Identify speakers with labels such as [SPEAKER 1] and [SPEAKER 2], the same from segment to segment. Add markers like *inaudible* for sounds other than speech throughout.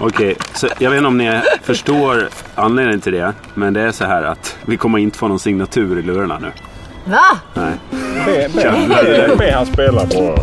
[SPEAKER 1] Okej, så jag vet inte om ni förstår anledningen till det. Men det är så här att vi kommer inte få någon signatur i lurarna nu.
[SPEAKER 2] Va?
[SPEAKER 1] Nej.
[SPEAKER 3] Be, be, be han spela bra.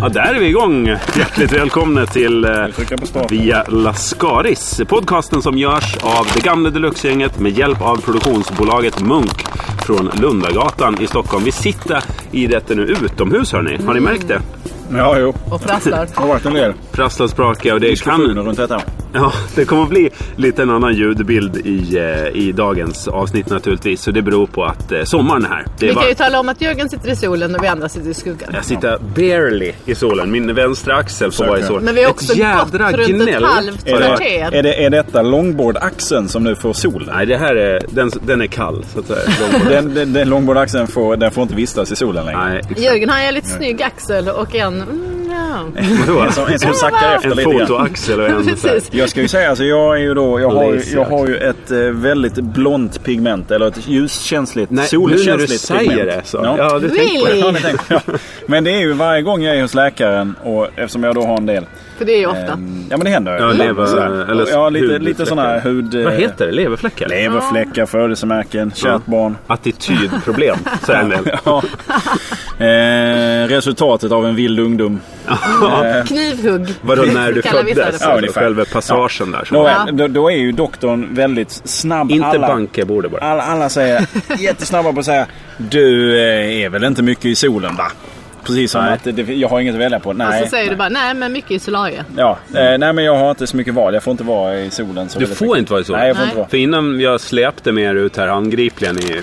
[SPEAKER 1] Ja, där är vi igång. Hjärtligt välkomna till eh,
[SPEAKER 3] Trycka på starten.
[SPEAKER 1] Via Lascaris. Podcasten som görs av det gamla Deluxe-gänget med hjälp av produktionsbolaget Munk från Lundagatan i Stockholm. Vi sitter i detta nu utomhus hörni. Har ni märkt det?
[SPEAKER 3] Ja, jo.
[SPEAKER 2] Och prasslar.
[SPEAKER 3] Det har varit en del
[SPEAKER 1] Prasslar, sprakar och det kan
[SPEAKER 3] diskussioner runt detta.
[SPEAKER 1] Ja, det kommer att bli lite en annan ljudbild i, eh, i dagens avsnitt naturligtvis. Så det beror på att eh, sommaren är här. Det är
[SPEAKER 2] Vi kan ju
[SPEAKER 1] varmt.
[SPEAKER 2] tala om att Jörgen sitter i solen och vi andra sitter i skuggan.
[SPEAKER 1] Jag sitter barely i solen. Min vänstra axel får vara i solen.
[SPEAKER 2] Men vi har också
[SPEAKER 1] ett jädra
[SPEAKER 2] gått runt
[SPEAKER 1] gnäll.
[SPEAKER 2] ett halvt
[SPEAKER 1] har det varit.
[SPEAKER 2] kvarter.
[SPEAKER 3] Är, det, är detta longboard-axeln som nu får solen?
[SPEAKER 1] Nej, det här är, den, den är kall så att säga.
[SPEAKER 3] *laughs*
[SPEAKER 1] Långbord.
[SPEAKER 3] Den, den, den longboard-axeln får, den får inte vistas i solen längre.
[SPEAKER 1] Nej,
[SPEAKER 2] Jörgen har en lite snygg axel och en... Mm, ja.
[SPEAKER 1] vadå?
[SPEAKER 3] En som, en som sackar efter
[SPEAKER 1] En
[SPEAKER 3] lite grann.
[SPEAKER 1] fotoaxel och en så här.
[SPEAKER 2] Precis.
[SPEAKER 3] Jag ska ju säga, alltså jag, är ju då, jag, har, ju-
[SPEAKER 1] Lazy
[SPEAKER 3] jag har ju
[SPEAKER 1] alltså.
[SPEAKER 3] ett eh, väldigt blont pigment, eller ett ljuskänsligt,
[SPEAKER 1] Nej, nu
[SPEAKER 3] solkänsligt
[SPEAKER 1] när du säger
[SPEAKER 3] pigment.
[SPEAKER 1] det så.
[SPEAKER 3] Ja.
[SPEAKER 1] Ja, du tänker på det.
[SPEAKER 3] Ja,
[SPEAKER 2] Really?
[SPEAKER 3] det tänkte jag. Men det är ju varje gång jag är hos läkaren, och eftersom jag då har en del.
[SPEAKER 2] För det är ju ofta.
[SPEAKER 3] ehm, Ja men det händer.
[SPEAKER 1] Ja, lever-
[SPEAKER 3] Sådär.
[SPEAKER 1] eller
[SPEAKER 3] ja lite,
[SPEAKER 1] hudfläckar.
[SPEAKER 3] lite sådana här hud... eh,
[SPEAKER 1] Vad heter det? Leverfläckar?
[SPEAKER 3] Leverfläckar, födelsemärken, kärt barn.
[SPEAKER 1] Attitydproblem, säger en del.
[SPEAKER 3] Ja. Eh, resultatet av en vild ungdom.
[SPEAKER 2] Knivhugg.
[SPEAKER 1] Vadå när du
[SPEAKER 2] Kallar vissa det
[SPEAKER 1] föddes?
[SPEAKER 2] för.
[SPEAKER 3] Ja,
[SPEAKER 1] Alltså,
[SPEAKER 3] ungefär.
[SPEAKER 1] själva passagen där. som-
[SPEAKER 3] Nåväl, då, då är ju doktorn väldigt snabb.
[SPEAKER 1] Inte
[SPEAKER 3] alla,
[SPEAKER 1] bankebordet bara.
[SPEAKER 3] alla, alla säger, jättesnabba på att säga du eh, är väl inte mycket i solen va? Precis som att det, jag har inget att välja på.
[SPEAKER 2] Och
[SPEAKER 3] Nej.
[SPEAKER 2] så säger du bara, nej men mycket i solarie.
[SPEAKER 3] Ja, eh, nej men jag har inte så mycket val. Jag får inte vara i solen. Så
[SPEAKER 1] Du
[SPEAKER 3] väldigt
[SPEAKER 1] får
[SPEAKER 3] mycket.
[SPEAKER 1] inte vara i solen.
[SPEAKER 3] Nej, jag får inte vara.
[SPEAKER 1] För innan jag släpte med er ut här handgripligen i eh,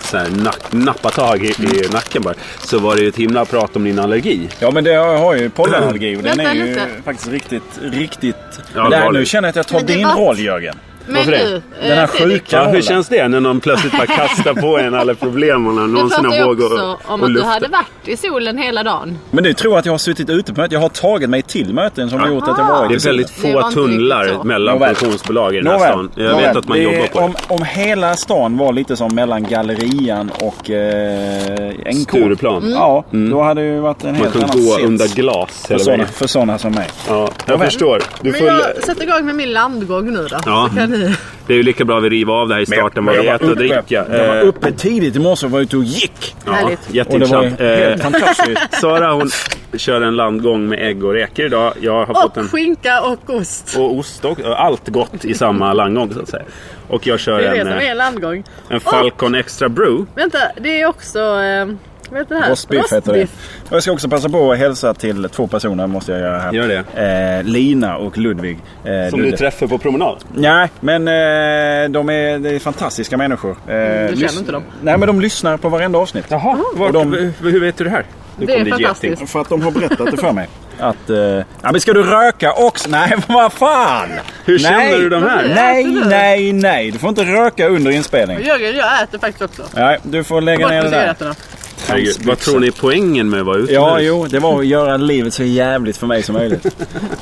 [SPEAKER 1] så här, nack, nappatag i, i
[SPEAKER 3] Mm.
[SPEAKER 1] nacken bara. Så var det ju ett himla prat om din allergi.
[SPEAKER 3] Ja men det, jag har ju pollenallergi och den
[SPEAKER 2] Vänta
[SPEAKER 3] är ju
[SPEAKER 2] lite.
[SPEAKER 3] faktiskt riktigt, riktigt...
[SPEAKER 1] Ja,
[SPEAKER 3] Men det här,
[SPEAKER 1] allvarligt.
[SPEAKER 3] nu känner jag att jag tar
[SPEAKER 2] Men det
[SPEAKER 3] din
[SPEAKER 2] var-
[SPEAKER 3] roll Jörgen.
[SPEAKER 2] Men
[SPEAKER 1] Varför det?
[SPEAKER 2] du, eh,
[SPEAKER 3] Den här
[SPEAKER 2] Fredrik,
[SPEAKER 3] sjuka
[SPEAKER 1] Ja, hur
[SPEAKER 3] rollen.
[SPEAKER 1] känns det när någon plötsligt bara kastar på en alla problem man
[SPEAKER 2] Du
[SPEAKER 1] någonsin
[SPEAKER 2] pratade
[SPEAKER 1] har
[SPEAKER 2] ju
[SPEAKER 1] vågat
[SPEAKER 2] också
[SPEAKER 1] och,
[SPEAKER 2] om
[SPEAKER 1] och
[SPEAKER 2] att du
[SPEAKER 1] lufta.
[SPEAKER 2] hade varit i solen hela dagen.
[SPEAKER 3] Men du tror att jag har suttit ute på möten. Jag har tagit mig till möten som har gjort att jag
[SPEAKER 2] Aha.
[SPEAKER 3] varit
[SPEAKER 1] Ah. Det
[SPEAKER 3] i
[SPEAKER 1] är
[SPEAKER 3] solen.
[SPEAKER 1] väldigt
[SPEAKER 2] Det var
[SPEAKER 1] få
[SPEAKER 2] inte riktigt
[SPEAKER 1] tunnlar
[SPEAKER 2] så.
[SPEAKER 1] mellan
[SPEAKER 3] Nåväl.
[SPEAKER 1] produktionsbolag i den här
[SPEAKER 3] Nåväl,
[SPEAKER 1] stan. Jag
[SPEAKER 3] nåväl.
[SPEAKER 1] vet att man
[SPEAKER 3] Det-
[SPEAKER 1] jobbar på det.
[SPEAKER 3] om, om hela stan var lite som mellan Gallerian och eh, NK.
[SPEAKER 1] Stureplan. Mm.
[SPEAKER 3] Ja, då hade det ju varit en
[SPEAKER 1] Man
[SPEAKER 3] helt
[SPEAKER 1] kunde gå
[SPEAKER 3] annan sits
[SPEAKER 1] under glas
[SPEAKER 3] för
[SPEAKER 1] hela
[SPEAKER 3] sådana,
[SPEAKER 1] vägen.
[SPEAKER 3] för sådana som mig.
[SPEAKER 1] Ja, jag förstår. Du
[SPEAKER 2] Men
[SPEAKER 1] får...
[SPEAKER 2] jag sätter igång med min landgång nu då.
[SPEAKER 1] Ja. Mm.
[SPEAKER 2] Så kan ni...
[SPEAKER 1] Det är ju lika bra vi river av det här i starten vad vi
[SPEAKER 3] jag var
[SPEAKER 1] äter och
[SPEAKER 3] uppe-
[SPEAKER 1] dricka.
[SPEAKER 3] Jag var
[SPEAKER 1] Eh,
[SPEAKER 3] uppe tidigt i morse och var ute och gick.
[SPEAKER 1] Ja,
[SPEAKER 2] Härligt.
[SPEAKER 3] Och det var
[SPEAKER 1] jätteintressant.
[SPEAKER 3] ju helt
[SPEAKER 1] Eh, *laughs*
[SPEAKER 3] fantastiskt.
[SPEAKER 1] Sara hon kör en landgång med ägg och räkor idag. Jag har fått en...
[SPEAKER 2] Och skinka och ost.
[SPEAKER 1] Och ost och allt gott i samma landgång så att säga. Och jag kör
[SPEAKER 2] Det är det
[SPEAKER 1] en,
[SPEAKER 2] som är
[SPEAKER 1] eh,
[SPEAKER 2] en landgång.
[SPEAKER 1] en Falcon Extra Brew.
[SPEAKER 2] Vänta, det är också... Eh, vad heter det här?
[SPEAKER 3] Rostbiff heter det. Och jag ska också passa på att hälsa till två personer måste jag göra här.
[SPEAKER 1] Gör
[SPEAKER 3] Eh, Lina och Ludvig. Eh,
[SPEAKER 1] Som
[SPEAKER 3] Ludde.
[SPEAKER 1] du träffar på promenad.
[SPEAKER 3] Nej, men eh, de, är, de är fantastiska människor. Eh,
[SPEAKER 2] du känner inte dem?
[SPEAKER 3] Nej, men de lyssnar på varenda avsnitt.
[SPEAKER 1] Jaha, var,
[SPEAKER 3] Och de-
[SPEAKER 1] hur- hur vet du det här? Nu
[SPEAKER 2] Det
[SPEAKER 1] kom
[SPEAKER 2] är
[SPEAKER 1] geting.
[SPEAKER 2] fantastiskt.
[SPEAKER 3] För att de har berättat det för mig. Att, eh, ja men ska du röka också? *laughs* Nej, vad fan!
[SPEAKER 1] Hur
[SPEAKER 3] nej,
[SPEAKER 1] känner du de här?
[SPEAKER 3] Nej,
[SPEAKER 2] Äter du?
[SPEAKER 3] nej, nej. Du får inte röka under inspelning.
[SPEAKER 2] Jörgen, jag äter faktiskt också.
[SPEAKER 3] Nej, du får lägga
[SPEAKER 2] Bort
[SPEAKER 3] ner det
[SPEAKER 2] med
[SPEAKER 3] där.
[SPEAKER 2] cigaretterna.
[SPEAKER 1] Herregud, vad tror ni är poängen med att vara utomhus?
[SPEAKER 3] Ja, jo, det var att göra livet så jävligt för mig som möjligt.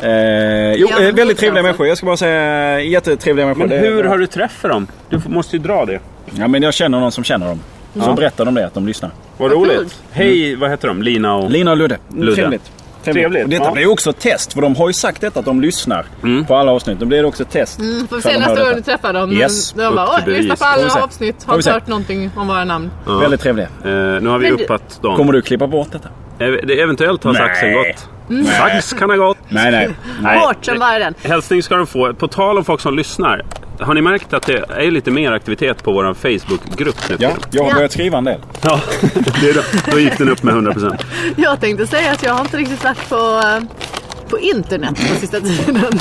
[SPEAKER 3] Eh, jo, eh, väldigt trevliga människor. Jag ska bara säga jättetrevliga människor.
[SPEAKER 1] Men
[SPEAKER 3] Det-
[SPEAKER 1] hur har du träffat dem? Du får- måste ju dra det.
[SPEAKER 3] Ja, men jag känner någon som känner dem. Så berättar de det, att de lyssnar.
[SPEAKER 1] Vad
[SPEAKER 2] Vad
[SPEAKER 1] roligt.
[SPEAKER 2] kul.
[SPEAKER 1] Hej, vad heter de? Lina och...
[SPEAKER 3] Lina och Ludde.
[SPEAKER 1] Ludde.
[SPEAKER 3] Trevligt.
[SPEAKER 1] Trevligt,
[SPEAKER 3] Och detta
[SPEAKER 1] ja. Mm.
[SPEAKER 3] blir ju också ett test, för de har ju sagt detta att de lyssnar på alla avsnitt. Då blir det också ett test.
[SPEAKER 2] Får vi
[SPEAKER 3] för de
[SPEAKER 2] se
[SPEAKER 3] hör
[SPEAKER 2] nästa gång
[SPEAKER 3] detta.
[SPEAKER 2] du träffar dem.
[SPEAKER 3] Yes,
[SPEAKER 2] De bara,
[SPEAKER 1] upp till
[SPEAKER 2] "Oj, lyssna
[SPEAKER 1] bevis."
[SPEAKER 2] på
[SPEAKER 3] Får vi se.
[SPEAKER 2] alla avsnitt.
[SPEAKER 3] Får
[SPEAKER 2] Har
[SPEAKER 3] vi se.
[SPEAKER 2] inte hört någonting om våra namn.
[SPEAKER 3] Väldigt trevliga.
[SPEAKER 1] Eh, nu har vi
[SPEAKER 2] Men du-
[SPEAKER 1] uppat dem.
[SPEAKER 3] Kommer du klippa bort detta?
[SPEAKER 1] Ev- det- Eventuellt har
[SPEAKER 3] Nej.
[SPEAKER 1] saxen gått. Sax kan ha gått.
[SPEAKER 3] Nej, nej. nej.
[SPEAKER 2] Bort som bara den.
[SPEAKER 1] Hälsning ska de få. På tal om folk som lyssnar. Har ni märkt att det är lite mer aktivitet på vår Facebookgrupp nu?
[SPEAKER 3] Ja, jag har
[SPEAKER 2] Ja.
[SPEAKER 3] börjat skriva en del.
[SPEAKER 1] ja. *laughs* Det är då, då gick den upp med 100%.
[SPEAKER 2] Jag tänkte säga att jag har inte riktigt varit på, eh, på internet på *laughs* sista tiden.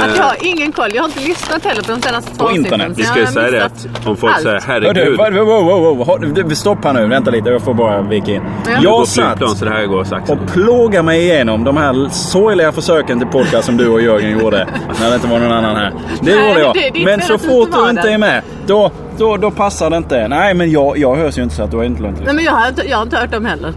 [SPEAKER 2] Att jag har ingen koll. Jag har inte lyssnat heller på de senaste två avsnitten.
[SPEAKER 3] internet.
[SPEAKER 2] så
[SPEAKER 1] Eh, Vi
[SPEAKER 2] jag
[SPEAKER 1] ska ju
[SPEAKER 2] har
[SPEAKER 1] säga det
[SPEAKER 2] missat
[SPEAKER 1] att om folk
[SPEAKER 2] allt.
[SPEAKER 1] säger
[SPEAKER 3] Hörru,
[SPEAKER 1] herregud.
[SPEAKER 3] vad- wow, wow, wow. Har- du- Stopp här nu. Vänta lite. Jag får bara vika in.
[SPEAKER 2] Ja.
[SPEAKER 1] Jag går
[SPEAKER 3] Jag satt
[SPEAKER 1] flygplan så det här går saxen.
[SPEAKER 3] och plåga mig igenom de här sorgliga försöken till podcast som du och Jörgen gjorde. När det inte var någon annan här. Det
[SPEAKER 2] Nej,
[SPEAKER 3] gjorde jag.
[SPEAKER 2] det- det är
[SPEAKER 3] Men
[SPEAKER 2] fel
[SPEAKER 3] så
[SPEAKER 2] att du
[SPEAKER 3] fort
[SPEAKER 2] inte
[SPEAKER 3] du
[SPEAKER 2] var
[SPEAKER 3] inte
[SPEAKER 2] där.
[SPEAKER 3] är med, då, då, då passar det inte. Nej, men jag, jag hörs ju inte så att du har inte långt.
[SPEAKER 2] Nej men jag har, inte, jag har inte hört dem heller.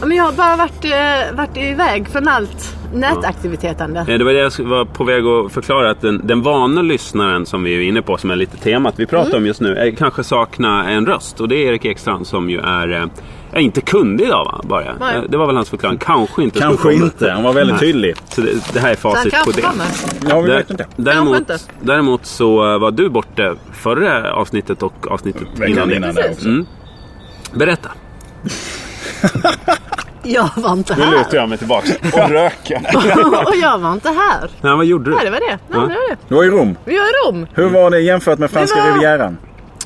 [SPEAKER 2] Ja, Men jag har bara varit, eh, varit iväg från allt nätaktivitetande.
[SPEAKER 1] Eh, Det var det jag var på väg att förklara. Att den, den vana lyssnaren som vi är inne på, som är lite temat vi pratar
[SPEAKER 2] Mm.
[SPEAKER 1] om just nu, eh, kanske saknar en röst. Och det är Erik Ekstrand som ju är, eh, är inte kunde idag va? Bara.
[SPEAKER 2] Nej.
[SPEAKER 1] Eh, Det var väl hans förklaring. Kanske inte.
[SPEAKER 3] Kanske
[SPEAKER 1] skulle komma.
[SPEAKER 3] inte. Han var väldigt
[SPEAKER 1] Nej.
[SPEAKER 3] tydlig.
[SPEAKER 1] Så det, det här är
[SPEAKER 2] Så han
[SPEAKER 1] facit på
[SPEAKER 2] kanske
[SPEAKER 1] det.
[SPEAKER 2] kommer.
[SPEAKER 3] Ja, vi
[SPEAKER 1] Dä-
[SPEAKER 3] vet inte.
[SPEAKER 1] Däremot,
[SPEAKER 2] inte.
[SPEAKER 1] däremot så eh, var du borta förra avsnittet och avsnittet innan
[SPEAKER 3] Veckan
[SPEAKER 1] det.
[SPEAKER 3] innan det också.
[SPEAKER 1] Berätta.
[SPEAKER 2] Jag var inte
[SPEAKER 3] Nu
[SPEAKER 2] här.
[SPEAKER 3] lutar jag mig tillbaka och röka.
[SPEAKER 2] *laughs* Och jag var inte här.
[SPEAKER 1] *laughs* Nej, vad gjorde du?
[SPEAKER 2] Nej, det var det. Nej,
[SPEAKER 1] Ja.
[SPEAKER 2] det var det.
[SPEAKER 3] Du var i Rom.
[SPEAKER 2] Vi var i Rom.
[SPEAKER 3] Hur var det jämfört med franska
[SPEAKER 2] Det var-
[SPEAKER 3] rivieran?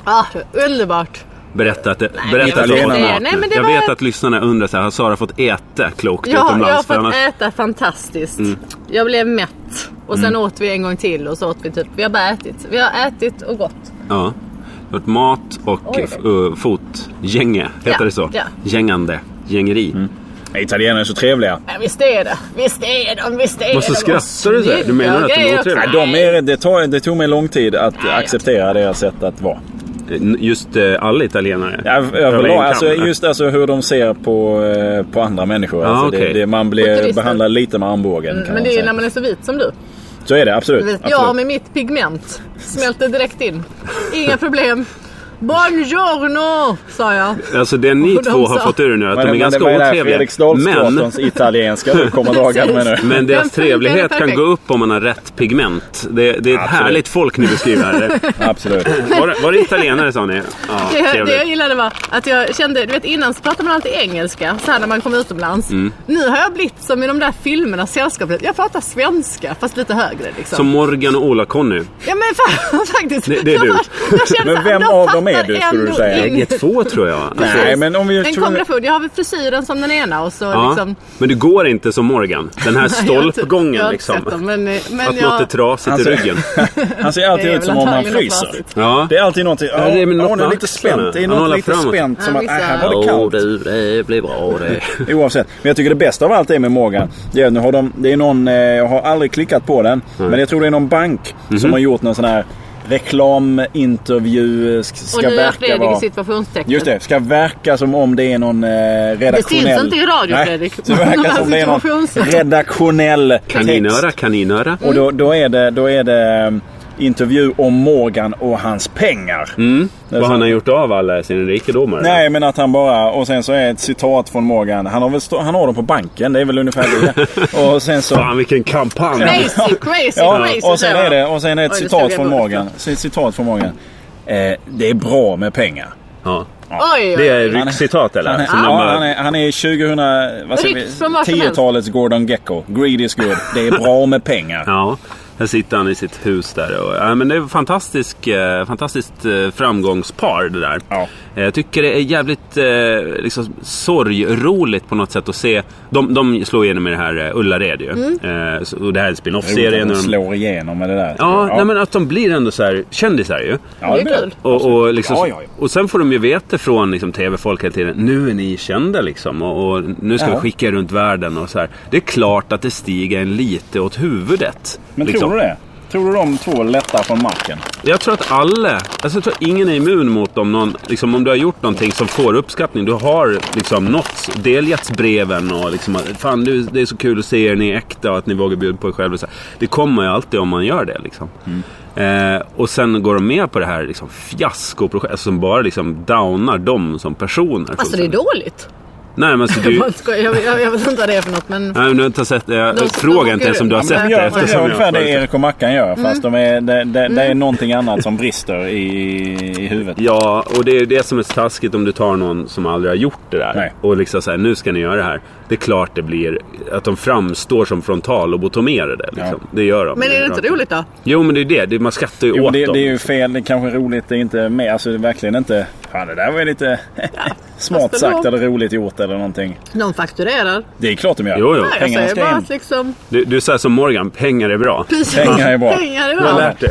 [SPEAKER 2] Ah, underbart.
[SPEAKER 1] Berätta, att det,
[SPEAKER 2] jag
[SPEAKER 1] berätta att
[SPEAKER 3] vet
[SPEAKER 1] det
[SPEAKER 3] inte.
[SPEAKER 1] var mat
[SPEAKER 2] Nej,
[SPEAKER 1] nu.
[SPEAKER 2] men det
[SPEAKER 1] Jag
[SPEAKER 2] var-
[SPEAKER 1] vet att lyssnarna undrar så här, har Sara fått äta klokt
[SPEAKER 2] Jag, jag har
[SPEAKER 1] utomlands? För
[SPEAKER 2] fått
[SPEAKER 1] annars- Mm.
[SPEAKER 2] äta fantastiskt. Jag blev mätt. Och sen åt vi en gång till och så åt vi typ. Vi har bara ätit. Vi har ätit och gått.
[SPEAKER 1] Ja. Det har varit mat och
[SPEAKER 2] Oj.
[SPEAKER 1] f- ö, fotgänge, heter
[SPEAKER 2] Ja,
[SPEAKER 1] det så?
[SPEAKER 2] ja.
[SPEAKER 1] Gängande, gängeri.
[SPEAKER 3] Mm. Italienare är så trevliga.
[SPEAKER 2] Nej, visst är det. Visst är de. Visst är
[SPEAKER 1] Måste
[SPEAKER 2] de.
[SPEAKER 1] skrattar du så här? Du menar
[SPEAKER 2] Snygga
[SPEAKER 1] att de är
[SPEAKER 2] grejer också.
[SPEAKER 1] otrevliga?
[SPEAKER 3] Nej, de är, det, tar, det tog mig lång tid att
[SPEAKER 2] ja.
[SPEAKER 3] acceptera deras sätt att vara.
[SPEAKER 1] N- Just eh, alla italienare?
[SPEAKER 3] Ja,
[SPEAKER 1] Över en
[SPEAKER 3] Överlag,
[SPEAKER 1] kam,
[SPEAKER 3] alltså,
[SPEAKER 1] eller?
[SPEAKER 3] just alltså hur de ser på, eh, på andra människor.
[SPEAKER 1] Ja,
[SPEAKER 3] alltså,
[SPEAKER 1] okej.
[SPEAKER 3] det, det, man
[SPEAKER 2] På
[SPEAKER 3] blir
[SPEAKER 2] turister.
[SPEAKER 3] behandlad lite med armbågen. kan
[SPEAKER 2] Men
[SPEAKER 3] man
[SPEAKER 2] det är ju
[SPEAKER 3] säga.
[SPEAKER 2] när man är så vit som du.
[SPEAKER 3] Så är det, absolut.
[SPEAKER 2] Du vet,
[SPEAKER 3] absolut.
[SPEAKER 2] Jag med mitt pigment smälter direkt in.
[SPEAKER 1] *laughs*
[SPEAKER 2] Inga problem. Buongiorno, sa jag.
[SPEAKER 1] Alltså det ni
[SPEAKER 2] Och de
[SPEAKER 1] två har
[SPEAKER 2] sa-
[SPEAKER 1] fått ur nu är att
[SPEAKER 3] Vad
[SPEAKER 1] de är
[SPEAKER 3] men
[SPEAKER 1] ganska
[SPEAKER 3] det, vad är det här
[SPEAKER 1] otrevliga. Men,
[SPEAKER 3] Fredriksdalsteaterns italienska du kommer dragande med nu?
[SPEAKER 1] men
[SPEAKER 2] Den
[SPEAKER 1] deras
[SPEAKER 2] funkar
[SPEAKER 1] trevlighet kan
[SPEAKER 2] perfekt.
[SPEAKER 1] gå upp om man har rätt pigment. Det, det är ett
[SPEAKER 3] Absolut.
[SPEAKER 1] härligt folk ni beskriver
[SPEAKER 2] *laughs*
[SPEAKER 1] här.
[SPEAKER 3] Absolut.
[SPEAKER 1] Var, det- var det italienare sa ni? Ja,
[SPEAKER 2] Det, det jag
[SPEAKER 1] trevligt.
[SPEAKER 2] gillade var att jag kände, du vet innan så pratade man alltid engelska så här när man kom utomlands.
[SPEAKER 3] Mm.
[SPEAKER 2] Nu har jag blivit som i de där filmerna, Sällskapet. Jag pratar svenska fast lite högre liksom.
[SPEAKER 1] Som Morgan och Ola-Conny.
[SPEAKER 2] Ja men fan, *laughs* faktiskt.
[SPEAKER 1] Det- det är
[SPEAKER 2] Jag
[SPEAKER 1] du.
[SPEAKER 2] bara- jag känner
[SPEAKER 3] Men
[SPEAKER 2] så här,
[SPEAKER 3] vem
[SPEAKER 2] de
[SPEAKER 3] av dem
[SPEAKER 2] fattar
[SPEAKER 3] är du, skulle du
[SPEAKER 2] ändå
[SPEAKER 3] säga?
[SPEAKER 2] in-
[SPEAKER 1] Bägge två tror jag.
[SPEAKER 2] *laughs*
[SPEAKER 1] Alltså,
[SPEAKER 3] Nej, men om vi
[SPEAKER 2] En
[SPEAKER 3] tror-
[SPEAKER 2] kombination. Jag har väl frisyren som den ena och så
[SPEAKER 1] ja.
[SPEAKER 2] liksom...
[SPEAKER 1] Men du går inte som Morgan.
[SPEAKER 2] *laughs*
[SPEAKER 1] Den här
[SPEAKER 2] Jag har inte- jag
[SPEAKER 1] stolpgången
[SPEAKER 2] har inte
[SPEAKER 1] liksom.
[SPEAKER 2] sett dem, men, eh, men
[SPEAKER 1] Att
[SPEAKER 2] jag,
[SPEAKER 1] något är trasigt
[SPEAKER 3] Alltså-
[SPEAKER 1] i
[SPEAKER 3] *laughs*
[SPEAKER 1] ryggen.
[SPEAKER 3] Han ser
[SPEAKER 2] det
[SPEAKER 3] alltid
[SPEAKER 2] är
[SPEAKER 3] ut
[SPEAKER 2] väl
[SPEAKER 3] som om han
[SPEAKER 2] antagligen något
[SPEAKER 3] fryser.
[SPEAKER 2] trasigt.
[SPEAKER 1] Ja.
[SPEAKER 3] Det är alltid någonting. Ja,
[SPEAKER 1] det är väl något
[SPEAKER 3] åh, det är
[SPEAKER 1] med
[SPEAKER 3] lite
[SPEAKER 1] axlarna.
[SPEAKER 3] spänt. Det är
[SPEAKER 1] Han
[SPEAKER 3] något
[SPEAKER 1] håller
[SPEAKER 3] lite
[SPEAKER 1] framåt.
[SPEAKER 3] spänt. Som
[SPEAKER 2] Ja,
[SPEAKER 3] att,
[SPEAKER 2] vissa-
[SPEAKER 3] äh, här var det kallt.
[SPEAKER 1] du, det blir bra
[SPEAKER 3] *laughs*
[SPEAKER 1] det.
[SPEAKER 3] Oavsett. Men jag tycker det bästa av allt är med Morgan. Det är, nu har de, det är någon, eh, jag har aldrig klickat på den. Men jag tror det är någon bank som har gjort någon sån här reklamintervju. eh, sk-
[SPEAKER 2] Och
[SPEAKER 3] Ska
[SPEAKER 2] nu gör
[SPEAKER 3] verka
[SPEAKER 2] Fredrik
[SPEAKER 3] vara...
[SPEAKER 2] situationstecken.
[SPEAKER 3] Just det, ska verka som om det är någon eh, redaktionell...
[SPEAKER 2] syns inte i radio,
[SPEAKER 3] Nej,
[SPEAKER 2] Fredrik. Alltså,
[SPEAKER 3] Det verkar som det är någon
[SPEAKER 2] Situations-
[SPEAKER 3] redaktionell text.
[SPEAKER 1] Kaninöra, kaninöra.
[SPEAKER 3] Och då, då, är det, då är det um, intervju om Morgan och hans pengar.
[SPEAKER 1] Vad han har gjort av alla sina rikedomar.
[SPEAKER 3] Nej, men att han bara... Och sen så är ett citat från Morgan. Han har, väl stå, han har dem på banken. Det är väl ungefär
[SPEAKER 2] *laughs*
[SPEAKER 3] det. och sen så...
[SPEAKER 1] Fan vilken kampanj.
[SPEAKER 2] Crazy, crazy,
[SPEAKER 3] Ja,
[SPEAKER 2] crazy.
[SPEAKER 3] och sen
[SPEAKER 2] säger
[SPEAKER 3] är
[SPEAKER 2] man.
[SPEAKER 3] det, och sen är ett
[SPEAKER 2] Oj, det ska
[SPEAKER 3] citat
[SPEAKER 2] jag
[SPEAKER 3] från
[SPEAKER 2] gå
[SPEAKER 3] Morgan. Ett citat från Morgan. Eh, det är bra med pengar.
[SPEAKER 1] Ja.
[SPEAKER 2] Oj,
[SPEAKER 1] Det
[SPEAKER 2] oj,
[SPEAKER 1] är
[SPEAKER 2] oj.
[SPEAKER 1] ryggcitat eller?
[SPEAKER 3] Han är,
[SPEAKER 1] Som de
[SPEAKER 3] ja,
[SPEAKER 1] har-
[SPEAKER 3] han är, han är 2000... Vad säger vi?
[SPEAKER 2] Rykt från vad som helst.
[SPEAKER 3] 10-talets Gordon Gecko. Greed is good. Det är bra med pengar.
[SPEAKER 1] Ja, här sitter han i sitt hus där. Och, ja, men det är ett fantastisk, eh, fantastiskt eh, framgångspar det där.
[SPEAKER 3] Ja.
[SPEAKER 1] Eh, Jag tycker det är jävligt eh, liksom, sorgroligt på något sätt att se. De, de slår igenom i det här eh, Ullared ju.
[SPEAKER 2] Mm.
[SPEAKER 1] Eh, så- och det här är en
[SPEAKER 3] Roligt
[SPEAKER 1] spin-off-serie.
[SPEAKER 3] att
[SPEAKER 1] när
[SPEAKER 3] de
[SPEAKER 1] de-
[SPEAKER 3] slår igenom med det där.
[SPEAKER 1] Ja, Nej, men att de blir ändå så här, kändisar ju.
[SPEAKER 3] Ja,
[SPEAKER 2] Det är
[SPEAKER 3] blir
[SPEAKER 2] kul.
[SPEAKER 1] Och, och, liksom,
[SPEAKER 3] Ja, ja, ja.
[SPEAKER 1] och sen får de ju veta från liksom, tv-folk hela tiden. Nu är ni kända liksom. Och, och nu ska
[SPEAKER 3] Ja.
[SPEAKER 1] vi skicka er runt världen och så här. Det är klart att det stiger en lite åt huvudet.
[SPEAKER 3] Men
[SPEAKER 1] liksom.
[SPEAKER 3] tror du det? Tror du de två lättar från marken?
[SPEAKER 1] Jag tror att alla, alltså jag tror att ingen är immun mot om någon, liksom om du har gjort någonting som får uppskattning. Du har liksom nått, delgetts breven och liksom fan du, det är så kul att se er, ni är äkta och att ni vågar bjuda på er själva. Så här. Det kommer ju alltid om man gör det liksom. Eh, och sen går de med på det här liksom fiaskoprojektet som bara liksom downar dem som personer.
[SPEAKER 2] Alltså det är dåligt.
[SPEAKER 1] Nej men alltså
[SPEAKER 2] Jag, *laughs*
[SPEAKER 1] du,
[SPEAKER 2] bara skojar. jag, jag, jag vet inte vad det är för något men...
[SPEAKER 1] nej, men du har inte sett, jag
[SPEAKER 2] De-
[SPEAKER 1] frågar inte
[SPEAKER 2] de-
[SPEAKER 1] ens om du har
[SPEAKER 3] Ja,
[SPEAKER 2] Ja,
[SPEAKER 1] sett
[SPEAKER 3] men
[SPEAKER 1] det.
[SPEAKER 3] gör,
[SPEAKER 1] eftersom
[SPEAKER 3] gör
[SPEAKER 1] jag
[SPEAKER 3] ungefär det
[SPEAKER 1] förutsätter-
[SPEAKER 3] Erik och Mackan gör.
[SPEAKER 2] Mm.
[SPEAKER 3] Fast de är, det, det, det är någonting annat som brister i, i huvudet.
[SPEAKER 1] Ja, och det är ju det som är så taskigt om du tar någon som aldrig har gjort det där.
[SPEAKER 3] Nej.
[SPEAKER 1] Och liksom säger nu ska ni göra det här. Det är klart det blir att de framstår som frontalobotomerade. Liksom.
[SPEAKER 3] Ja.
[SPEAKER 1] Det gör de.
[SPEAKER 2] Men är det inte roligt då?
[SPEAKER 1] Jo, men det är ju det. det. Man skrattar ju
[SPEAKER 3] Jo,
[SPEAKER 1] åt
[SPEAKER 3] det,
[SPEAKER 1] dem.
[SPEAKER 3] det är ju fel. Det är kanske roligt. Det är inte med. Alltså det är verkligen inte... Fan, det där var ju lite *laughs* smart
[SPEAKER 2] fast ändå.
[SPEAKER 3] sagt eller roligt gjort eller någonting.
[SPEAKER 2] De fakturerar.
[SPEAKER 3] Det är klart de gör.
[SPEAKER 1] Jo, jo.
[SPEAKER 2] Nej, jag
[SPEAKER 3] Pengarna
[SPEAKER 2] säger
[SPEAKER 3] ska
[SPEAKER 2] bara
[SPEAKER 3] in.
[SPEAKER 2] att liksom...
[SPEAKER 1] Du, du är så här som Morgan, pengar är bra.
[SPEAKER 2] precis.
[SPEAKER 3] Pengar är bra.
[SPEAKER 2] Pengar är
[SPEAKER 1] Jag har
[SPEAKER 2] bra.
[SPEAKER 1] lärt dig.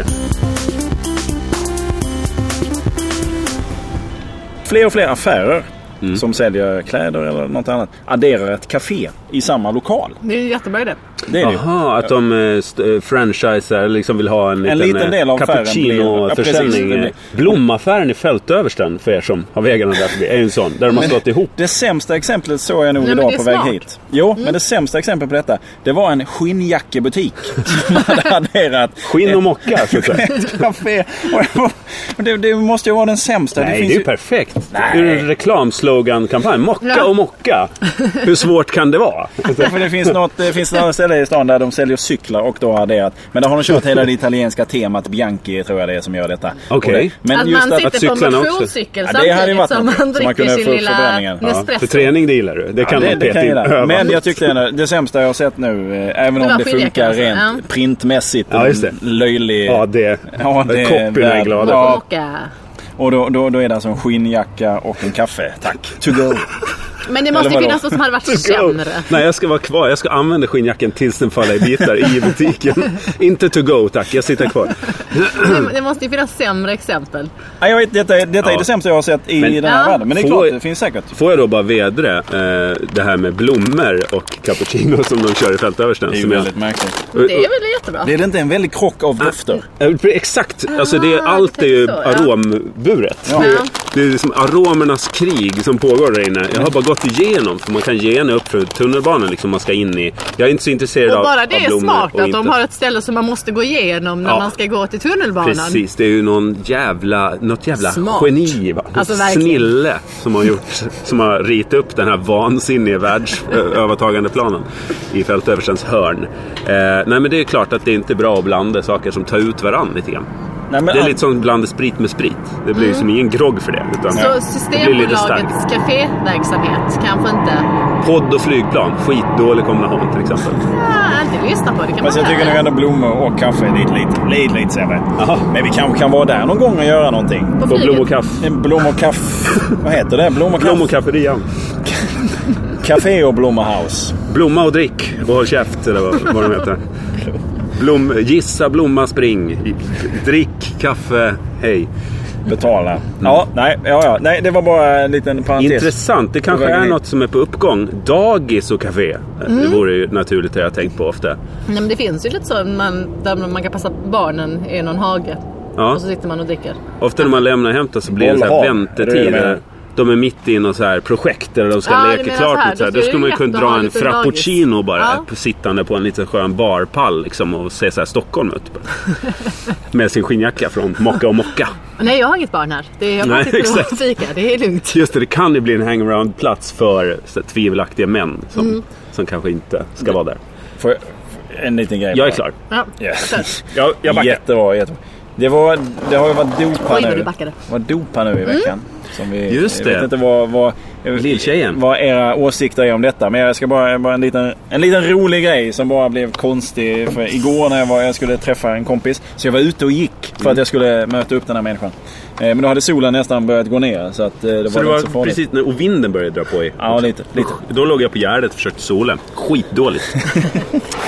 [SPEAKER 3] Fler och fler affärer
[SPEAKER 1] Mm.
[SPEAKER 3] som säljer kläder eller något annat adderar ett café i samma lokal.
[SPEAKER 2] Det är ju en jättebra idé.
[SPEAKER 3] Det är det ju.
[SPEAKER 1] Jaha, att de eh, st- eh, franchisar liksom vill ha en liten,
[SPEAKER 3] liten del
[SPEAKER 1] eh,
[SPEAKER 3] av affären blir- ja, precis,
[SPEAKER 1] cappuccino-försäljning.
[SPEAKER 3] det blir-
[SPEAKER 1] eh, Blomaffären i Fältöversten, för er som har vägarna där förbi, är ju en sån. Där de har slått ihop.
[SPEAKER 3] Det sämsta exemplet såg jag nog
[SPEAKER 2] Nej, men
[SPEAKER 3] idag
[SPEAKER 2] det är
[SPEAKER 3] på väg
[SPEAKER 2] smart. Mm.
[SPEAKER 3] hit. Jo, men det sämsta exemplet på detta. Det var en skinnjackebutik *laughs* som hade adderat
[SPEAKER 1] Skinn och mocka, så att säga.
[SPEAKER 3] ett café. Och jag bara, men det, det måste ju vara den sämsta.
[SPEAKER 1] Nej, det,
[SPEAKER 3] finns
[SPEAKER 1] är ju
[SPEAKER 3] ju-
[SPEAKER 1] perfekt.
[SPEAKER 3] Nej.
[SPEAKER 1] Det är ju en reklamslogan-kampanj. Mocka
[SPEAKER 2] Ja.
[SPEAKER 1] och mocka. Hur svårt kan det vara?
[SPEAKER 3] För *laughs* det finns något, det finns några ställe i stan där de säljer cyklar och då har adderat. Men där har de kört hela det italienska temat Bianchi tror jag det är som gör detta.
[SPEAKER 1] Okej.
[SPEAKER 3] Och det- Men
[SPEAKER 2] att
[SPEAKER 3] just
[SPEAKER 2] man
[SPEAKER 3] att,
[SPEAKER 1] att
[SPEAKER 2] sitter på en
[SPEAKER 1] cyklarna också-
[SPEAKER 2] motionscykel
[SPEAKER 3] Ja, det hade ju
[SPEAKER 2] samtidigt
[SPEAKER 3] varit något,
[SPEAKER 2] som man
[SPEAKER 3] så man
[SPEAKER 2] dricker
[SPEAKER 3] kunde få
[SPEAKER 2] sin lilla
[SPEAKER 3] förbränningen. Ja,
[SPEAKER 1] Ja, för
[SPEAKER 2] Nespresso.
[SPEAKER 1] träning det gillar du. Det kan
[SPEAKER 3] det,
[SPEAKER 1] man
[SPEAKER 3] det
[SPEAKER 1] peta
[SPEAKER 3] kan
[SPEAKER 1] in
[SPEAKER 3] jag göra. Men
[SPEAKER 1] överallt.
[SPEAKER 3] jag tyckte ändå, det sämsta jag har sett nu, eh, även
[SPEAKER 2] Det
[SPEAKER 3] om
[SPEAKER 2] var
[SPEAKER 3] det funkar
[SPEAKER 2] skinnjackan,
[SPEAKER 3] rent
[SPEAKER 2] ja.
[SPEAKER 3] printmässigt,
[SPEAKER 1] Ja, just det.
[SPEAKER 3] en löjlig...
[SPEAKER 1] Ja, det,
[SPEAKER 3] Ja, det är
[SPEAKER 1] Copyn är
[SPEAKER 3] värd-
[SPEAKER 1] glada
[SPEAKER 3] Ja.
[SPEAKER 1] för.
[SPEAKER 2] Mocka.
[SPEAKER 3] Och då, då, då är det alltså en skinnjacka och en kaffe. Tack. To go.
[SPEAKER 2] Men det måste
[SPEAKER 3] Eller vadå?
[SPEAKER 2] ju finnas något
[SPEAKER 3] *laughs*
[SPEAKER 2] som hade varit sämre.
[SPEAKER 1] Nej, jag ska vara kvar. Jag ska använda skinnjackan tills den faller i bitar
[SPEAKER 3] *laughs*
[SPEAKER 1] i butiken. Inte to go, tack. Jag sitter kvar.
[SPEAKER 2] Det- Det måste ju finnas sämre exempel.
[SPEAKER 3] Nej, jag vet, detta är- detta är
[SPEAKER 1] Ja.
[SPEAKER 3] det sämsta jag har sett i
[SPEAKER 1] Men-
[SPEAKER 3] den här
[SPEAKER 2] Ja.
[SPEAKER 3] världen. Men det är
[SPEAKER 1] Får-
[SPEAKER 3] klart, det finns säkert.
[SPEAKER 1] Får jag då bara vädra eh, det här med blommor och cappuccino som de kör i Fältöversten?
[SPEAKER 3] Det är ju
[SPEAKER 1] som jag-
[SPEAKER 3] väldigt märkligt.
[SPEAKER 2] Det är väl jättebra.
[SPEAKER 3] Blir det inte en väldig krock
[SPEAKER 1] Ah.
[SPEAKER 3] av dofter?
[SPEAKER 1] Ja, Exakt, alltså det är,
[SPEAKER 2] Aha,
[SPEAKER 1] allt är
[SPEAKER 2] du
[SPEAKER 1] ju
[SPEAKER 2] tänker så, ja.
[SPEAKER 1] aromburet.
[SPEAKER 3] Ja.
[SPEAKER 1] Det, är- det är liksom aromernas krig som pågår där inne. Jag har bara gått igenom, för man kan gena upp för tunnelbanan liksom man ska in i. Jag är inte så intresserad
[SPEAKER 2] Och
[SPEAKER 1] av
[SPEAKER 2] bara
[SPEAKER 1] av
[SPEAKER 2] det är
[SPEAKER 1] blommor
[SPEAKER 2] smart
[SPEAKER 1] och
[SPEAKER 2] att de
[SPEAKER 1] inte-
[SPEAKER 2] har ett ställe som man måste gå igenom när
[SPEAKER 1] Ja.
[SPEAKER 2] man ska gå till tunnelbanan.
[SPEAKER 1] Precis, det är ju någon jävla, något jävla
[SPEAKER 2] Smart.
[SPEAKER 1] geni va?
[SPEAKER 2] Alltså, verkligen.
[SPEAKER 1] snille som har, gjort, som har ritat upp den här vansinniga världsövertagande planen i Fältöverstens hörn. Eh, nej men det är klart att det är inte bra att blanda saker som tar ut varandra lite grann.
[SPEAKER 3] Nej, men
[SPEAKER 1] det är
[SPEAKER 3] all-
[SPEAKER 1] lite som att blanda sprit med sprit. Det blir ju som ingen grogg för det. Utan
[SPEAKER 2] Mm. Så
[SPEAKER 1] det blir lite starkt.
[SPEAKER 2] Systembolagets kaféverksamhet kanske inte...
[SPEAKER 1] Podd och flygplan, skitdålig kombination till exempel.
[SPEAKER 2] Ja, inte lyssna på det kan
[SPEAKER 3] Men
[SPEAKER 2] man
[SPEAKER 3] jag tycker nog
[SPEAKER 2] göra.
[SPEAKER 3] ändå blommor och kaffe är lite, lite, lite, lite sämre.
[SPEAKER 1] Jaha.
[SPEAKER 3] Men vi kanske kan vara där någon gång och göra någonting.
[SPEAKER 2] På
[SPEAKER 1] Och blom och
[SPEAKER 2] flyget.
[SPEAKER 1] kaffe.
[SPEAKER 3] En blom och kaffe...
[SPEAKER 1] *laughs*
[SPEAKER 3] Vad heter det? Blom och
[SPEAKER 1] Blom och
[SPEAKER 3] kaffe?
[SPEAKER 1] kafferian.
[SPEAKER 3] Café och Blommahouse.
[SPEAKER 1] Blomma och drick och håll käft eller vad, vad de heter. Blom, gissa, blomma, spring. Drick, kaffe, hej.
[SPEAKER 3] Betala. Ja, nej, ja, ja, nej, det var bara en liten parentes.
[SPEAKER 1] Intressant. Det kanske
[SPEAKER 3] På vägen
[SPEAKER 1] är
[SPEAKER 3] hit.
[SPEAKER 1] något som är på uppgång. Dagis och café. Det
[SPEAKER 2] Mm.
[SPEAKER 1] vore ju naturligt, det har jag tänkt på ofta.
[SPEAKER 2] Nej, men det finns ju lite så man, där man kan passa barnen i någon hage.
[SPEAKER 1] Ja.
[SPEAKER 2] Och så sitter man och dricker.
[SPEAKER 1] Ofta när man lämnar hem det så blir det så här
[SPEAKER 3] Bollhav. Det är det jag
[SPEAKER 1] väntetider.
[SPEAKER 3] menar.
[SPEAKER 1] De är mitt i något så här projekt där de ska
[SPEAKER 2] Ja, du
[SPEAKER 1] leka
[SPEAKER 2] menar
[SPEAKER 1] klart.
[SPEAKER 2] så här,
[SPEAKER 1] något så här.
[SPEAKER 2] då
[SPEAKER 1] Då
[SPEAKER 2] är det
[SPEAKER 1] skulle man
[SPEAKER 2] lätt
[SPEAKER 1] kunna
[SPEAKER 2] att ha
[SPEAKER 1] dra en
[SPEAKER 2] lite
[SPEAKER 1] frappuccino
[SPEAKER 2] dagis.
[SPEAKER 1] bara.
[SPEAKER 2] Ja.
[SPEAKER 1] på- Sittande på en liten skön barpall liksom, och se så här Stockholm
[SPEAKER 2] *laughs*
[SPEAKER 1] ut. Med sin skinnjacka från Mocka och Mocka.
[SPEAKER 2] Nej, jag har inget barn här. Det är, jag
[SPEAKER 1] Nej,
[SPEAKER 2] bara sitter
[SPEAKER 1] exakt.
[SPEAKER 2] och fikar. Det är lugnt.
[SPEAKER 1] Just det, det kan ju bli en hangaround-plats för så här, tvivelaktiga män som,
[SPEAKER 2] Mm.
[SPEAKER 1] som kanske inte ska vara där.
[SPEAKER 3] Får jag- en liten grej
[SPEAKER 1] Jag är
[SPEAKER 3] bara.
[SPEAKER 1] klar.
[SPEAKER 2] Ja.
[SPEAKER 3] Ja.
[SPEAKER 1] *laughs* Jag, jag backar.
[SPEAKER 3] Jättebra, jättebra. Det, var, det har ju varit dopa
[SPEAKER 2] Oj, vad
[SPEAKER 3] nu.
[SPEAKER 2] du backade. Mm.
[SPEAKER 3] var dopa nu i veckan. Som vi,
[SPEAKER 1] Just
[SPEAKER 3] Jag
[SPEAKER 1] det.
[SPEAKER 3] vet inte vad, vad,
[SPEAKER 1] Lilltjejen.
[SPEAKER 3] vad era åsikter är om detta. Men jag ska bara, bara en, liten, en liten rolig grej som bara blev konstig. För igår när jag, var, jag skulle träffa en kompis. Så jag var ute och gick för att jag skulle möta upp den här människan. Eh, Men då hade solen nästan börjat gå ner. Så att eh, det
[SPEAKER 1] Så
[SPEAKER 3] var,
[SPEAKER 1] det
[SPEAKER 3] inte så
[SPEAKER 1] var
[SPEAKER 3] farligt.
[SPEAKER 1] precis när, och vinden började dra på i.
[SPEAKER 3] Ja, lite. lite.
[SPEAKER 1] Då låg jag på Gärdet och försökte sola.
[SPEAKER 3] *laughs*
[SPEAKER 1] Skitdåligt.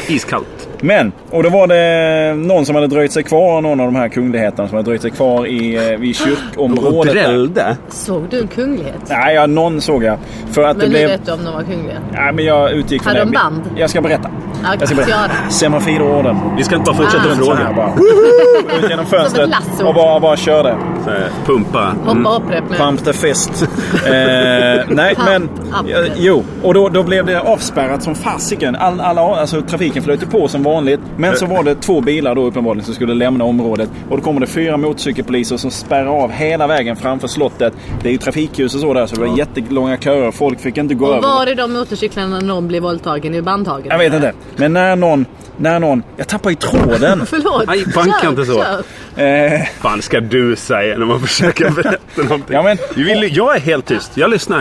[SPEAKER 1] Iskallt.
[SPEAKER 3] Men, och då var det någon som hade dröjt sig kvar, någon av de här kungligheterna som hade dröjt sig kvar i, eh, vid
[SPEAKER 1] Och
[SPEAKER 3] kyrkområdet. där.
[SPEAKER 1] drällde.
[SPEAKER 2] Såg du en kunglighet?
[SPEAKER 3] Nej, ja, någon såg jag. För att
[SPEAKER 2] Men
[SPEAKER 3] det
[SPEAKER 2] nu
[SPEAKER 3] blev...
[SPEAKER 2] vet du om de var kungliga.
[SPEAKER 3] Nej, men jag utgick från
[SPEAKER 2] Hade
[SPEAKER 3] det.
[SPEAKER 2] de band?
[SPEAKER 3] Jag ska berätta.
[SPEAKER 2] Ja,
[SPEAKER 3] Jag ska berätta.
[SPEAKER 2] gör det.
[SPEAKER 3] Serafiderorden.
[SPEAKER 1] Vi ska inte bara fortsätta
[SPEAKER 2] Ah.
[SPEAKER 3] Så här
[SPEAKER 1] fråga.
[SPEAKER 3] bara. Woohoo! Ut genom fönstret
[SPEAKER 2] lasso.
[SPEAKER 3] och bara, bara körde.
[SPEAKER 1] Så här, Pumpa. Mm.
[SPEAKER 2] Hoppa upprep med.
[SPEAKER 3] Pump the
[SPEAKER 2] *laughs*
[SPEAKER 3] fist. eh, nej, men...
[SPEAKER 2] Pump up.
[SPEAKER 3] Jo, och då, då blev det avspärrat som fasiken. All, alla, alltså, trafiken flöt ju på som vanligt. Men så var det två bilar då uppenbarligen som skulle lämna området. Och då kommer det fyra motorcykelpoliser som spärrar av hela vägen framför slottet. Det är ju trafikljus och så där så det var jättelånga köer. Folk fick inte gå över.
[SPEAKER 2] Och var är de motorcyklarna när någon blir våldtagen i bandhagen?
[SPEAKER 3] Jag vet inte. Men när någon... När någon... Jag tappar ju tråden.
[SPEAKER 2] *laughs* Förlåt.
[SPEAKER 1] Aj, banka
[SPEAKER 2] Kör,
[SPEAKER 1] inte så.
[SPEAKER 2] kör.
[SPEAKER 3] eh,
[SPEAKER 1] fan ska du säga när man försöker *laughs* berätta någonting?
[SPEAKER 3] Ja, men-
[SPEAKER 1] Du vill, jag är helt tyst. Jag lyssnar.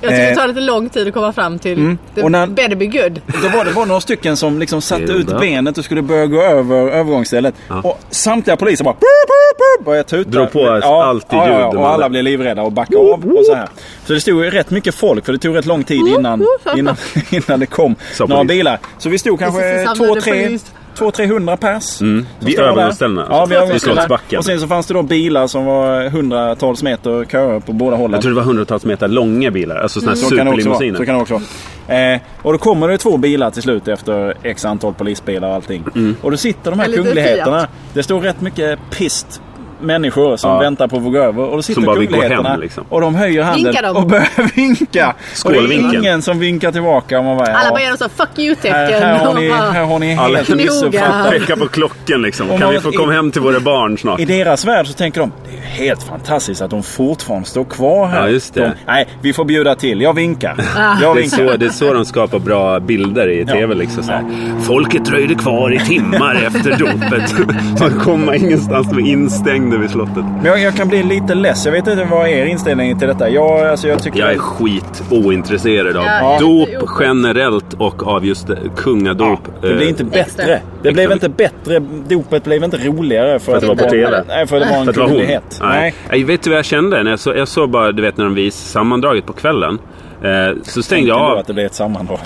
[SPEAKER 2] Jag tycker det
[SPEAKER 3] Eh. Mm.
[SPEAKER 2] tar lite lång tid att komma fram till the
[SPEAKER 3] Och när-
[SPEAKER 2] better be good.
[SPEAKER 3] då var det var några stycken som liksom satte ut
[SPEAKER 1] Ända.
[SPEAKER 3] benet och skulle börja gå över övergångsstället. Och samtliga poliser bara... Bup, bup, bup, började tuta.
[SPEAKER 1] Drog på allt i
[SPEAKER 3] ja, ja,
[SPEAKER 1] ljud,
[SPEAKER 3] ja,
[SPEAKER 1] de
[SPEAKER 3] och
[SPEAKER 1] hade.
[SPEAKER 3] alla blev livrädda och backade av och så här. Så det stod ju rätt mycket folk för det tog rätt lång tid innan, *laughs* innan, innan det kom
[SPEAKER 1] Sa
[SPEAKER 3] några
[SPEAKER 1] polis.
[SPEAKER 3] bilar. Så vi stod
[SPEAKER 2] This
[SPEAKER 3] kanske
[SPEAKER 2] is some
[SPEAKER 3] två,
[SPEAKER 2] of the
[SPEAKER 3] tre...
[SPEAKER 2] police.
[SPEAKER 3] 200-300 pers. som
[SPEAKER 1] vid
[SPEAKER 3] står där.
[SPEAKER 1] övergångsställena,
[SPEAKER 3] Ja,
[SPEAKER 1] alltså.
[SPEAKER 3] vid
[SPEAKER 1] Vid
[SPEAKER 3] övergångsställena.
[SPEAKER 1] Slottsbacken.
[SPEAKER 3] Och sen så fanns det då bilar som var hundratals meter köer på båda hållen.
[SPEAKER 1] Jag tror det var hundratals meter långa bilar. Alltså såna här
[SPEAKER 3] Mm. Så kan det också vara.
[SPEAKER 1] superlimousiner.
[SPEAKER 3] Så kan det också vara. Eh, och då kommer det två bilar till slut efter x antal polisbilar och allting.
[SPEAKER 1] Mm.
[SPEAKER 3] Och då sitter de här
[SPEAKER 2] En liten
[SPEAKER 3] kungligheterna.
[SPEAKER 2] Fiat.
[SPEAKER 3] Det står rätt mycket pist människor som
[SPEAKER 1] Ja.
[SPEAKER 3] väntar på att få gå över. Och då sitter
[SPEAKER 1] Som bara vill gå hem,
[SPEAKER 3] kungligheterna
[SPEAKER 1] liksom.
[SPEAKER 3] och de höjer handen
[SPEAKER 2] Vinkar de?
[SPEAKER 3] och börjar *laughs* vinka. Och det är
[SPEAKER 1] Skålvinken.
[SPEAKER 3] ingen som vinkar tillbaka. Och man bara,
[SPEAKER 2] Alla
[SPEAKER 3] ja,
[SPEAKER 2] bara ger dem så fuck
[SPEAKER 3] här,
[SPEAKER 2] you-tecken.
[SPEAKER 3] här, har
[SPEAKER 2] *laughs* Och
[SPEAKER 3] ni,
[SPEAKER 2] bara-
[SPEAKER 3] här har ni
[SPEAKER 1] Alla-
[SPEAKER 3] helt
[SPEAKER 1] Noga.
[SPEAKER 3] missuppfattat.
[SPEAKER 1] Peka på klockan liksom.
[SPEAKER 3] Om
[SPEAKER 1] kan vi
[SPEAKER 3] någon-
[SPEAKER 1] få komma hem till våra barn snart?
[SPEAKER 3] I deras värld så tänker de det är ju helt fantastiskt att de fortfarande står kvar här.
[SPEAKER 1] Ja, just det.
[SPEAKER 3] De, nej, vi får bjuda till. Jag vinkar. Jag
[SPEAKER 1] Det är,
[SPEAKER 3] vinkar.
[SPEAKER 1] så, det är så de skapar bra bilder i tv. Liksom, så här. Folket dröjde kvar i timmar efter
[SPEAKER 3] *laughs*
[SPEAKER 1] dopet. Man kommer ingenstans, de är instängda vid slottet.
[SPEAKER 3] Men jag, jag kan bli lite less. Jag vet inte vad er inställning är till detta. Jag, alltså, jag tycker...
[SPEAKER 1] Jag är skit ointresserad av
[SPEAKER 2] Ja,
[SPEAKER 1] dop
[SPEAKER 2] jätteointresserad.
[SPEAKER 1] generellt och av just eh, kungadop.
[SPEAKER 3] det blir inte
[SPEAKER 1] Eh,
[SPEAKER 3] bättre. Det
[SPEAKER 1] Exakt.
[SPEAKER 3] blev inte bättre. Dopet blev inte roligare för,
[SPEAKER 1] att det var på TV.
[SPEAKER 3] Nej, för att det var en
[SPEAKER 1] För att det var hon?
[SPEAKER 3] kunglighet.
[SPEAKER 1] Nej. Nej. Vet du vad jag kände? När jag, så, jag såg bara, du vet när de visade sammandraget på kvällen. Eh, så stängde jag
[SPEAKER 3] Jag ändå
[SPEAKER 1] av.
[SPEAKER 3] att det blev ett sammandrag.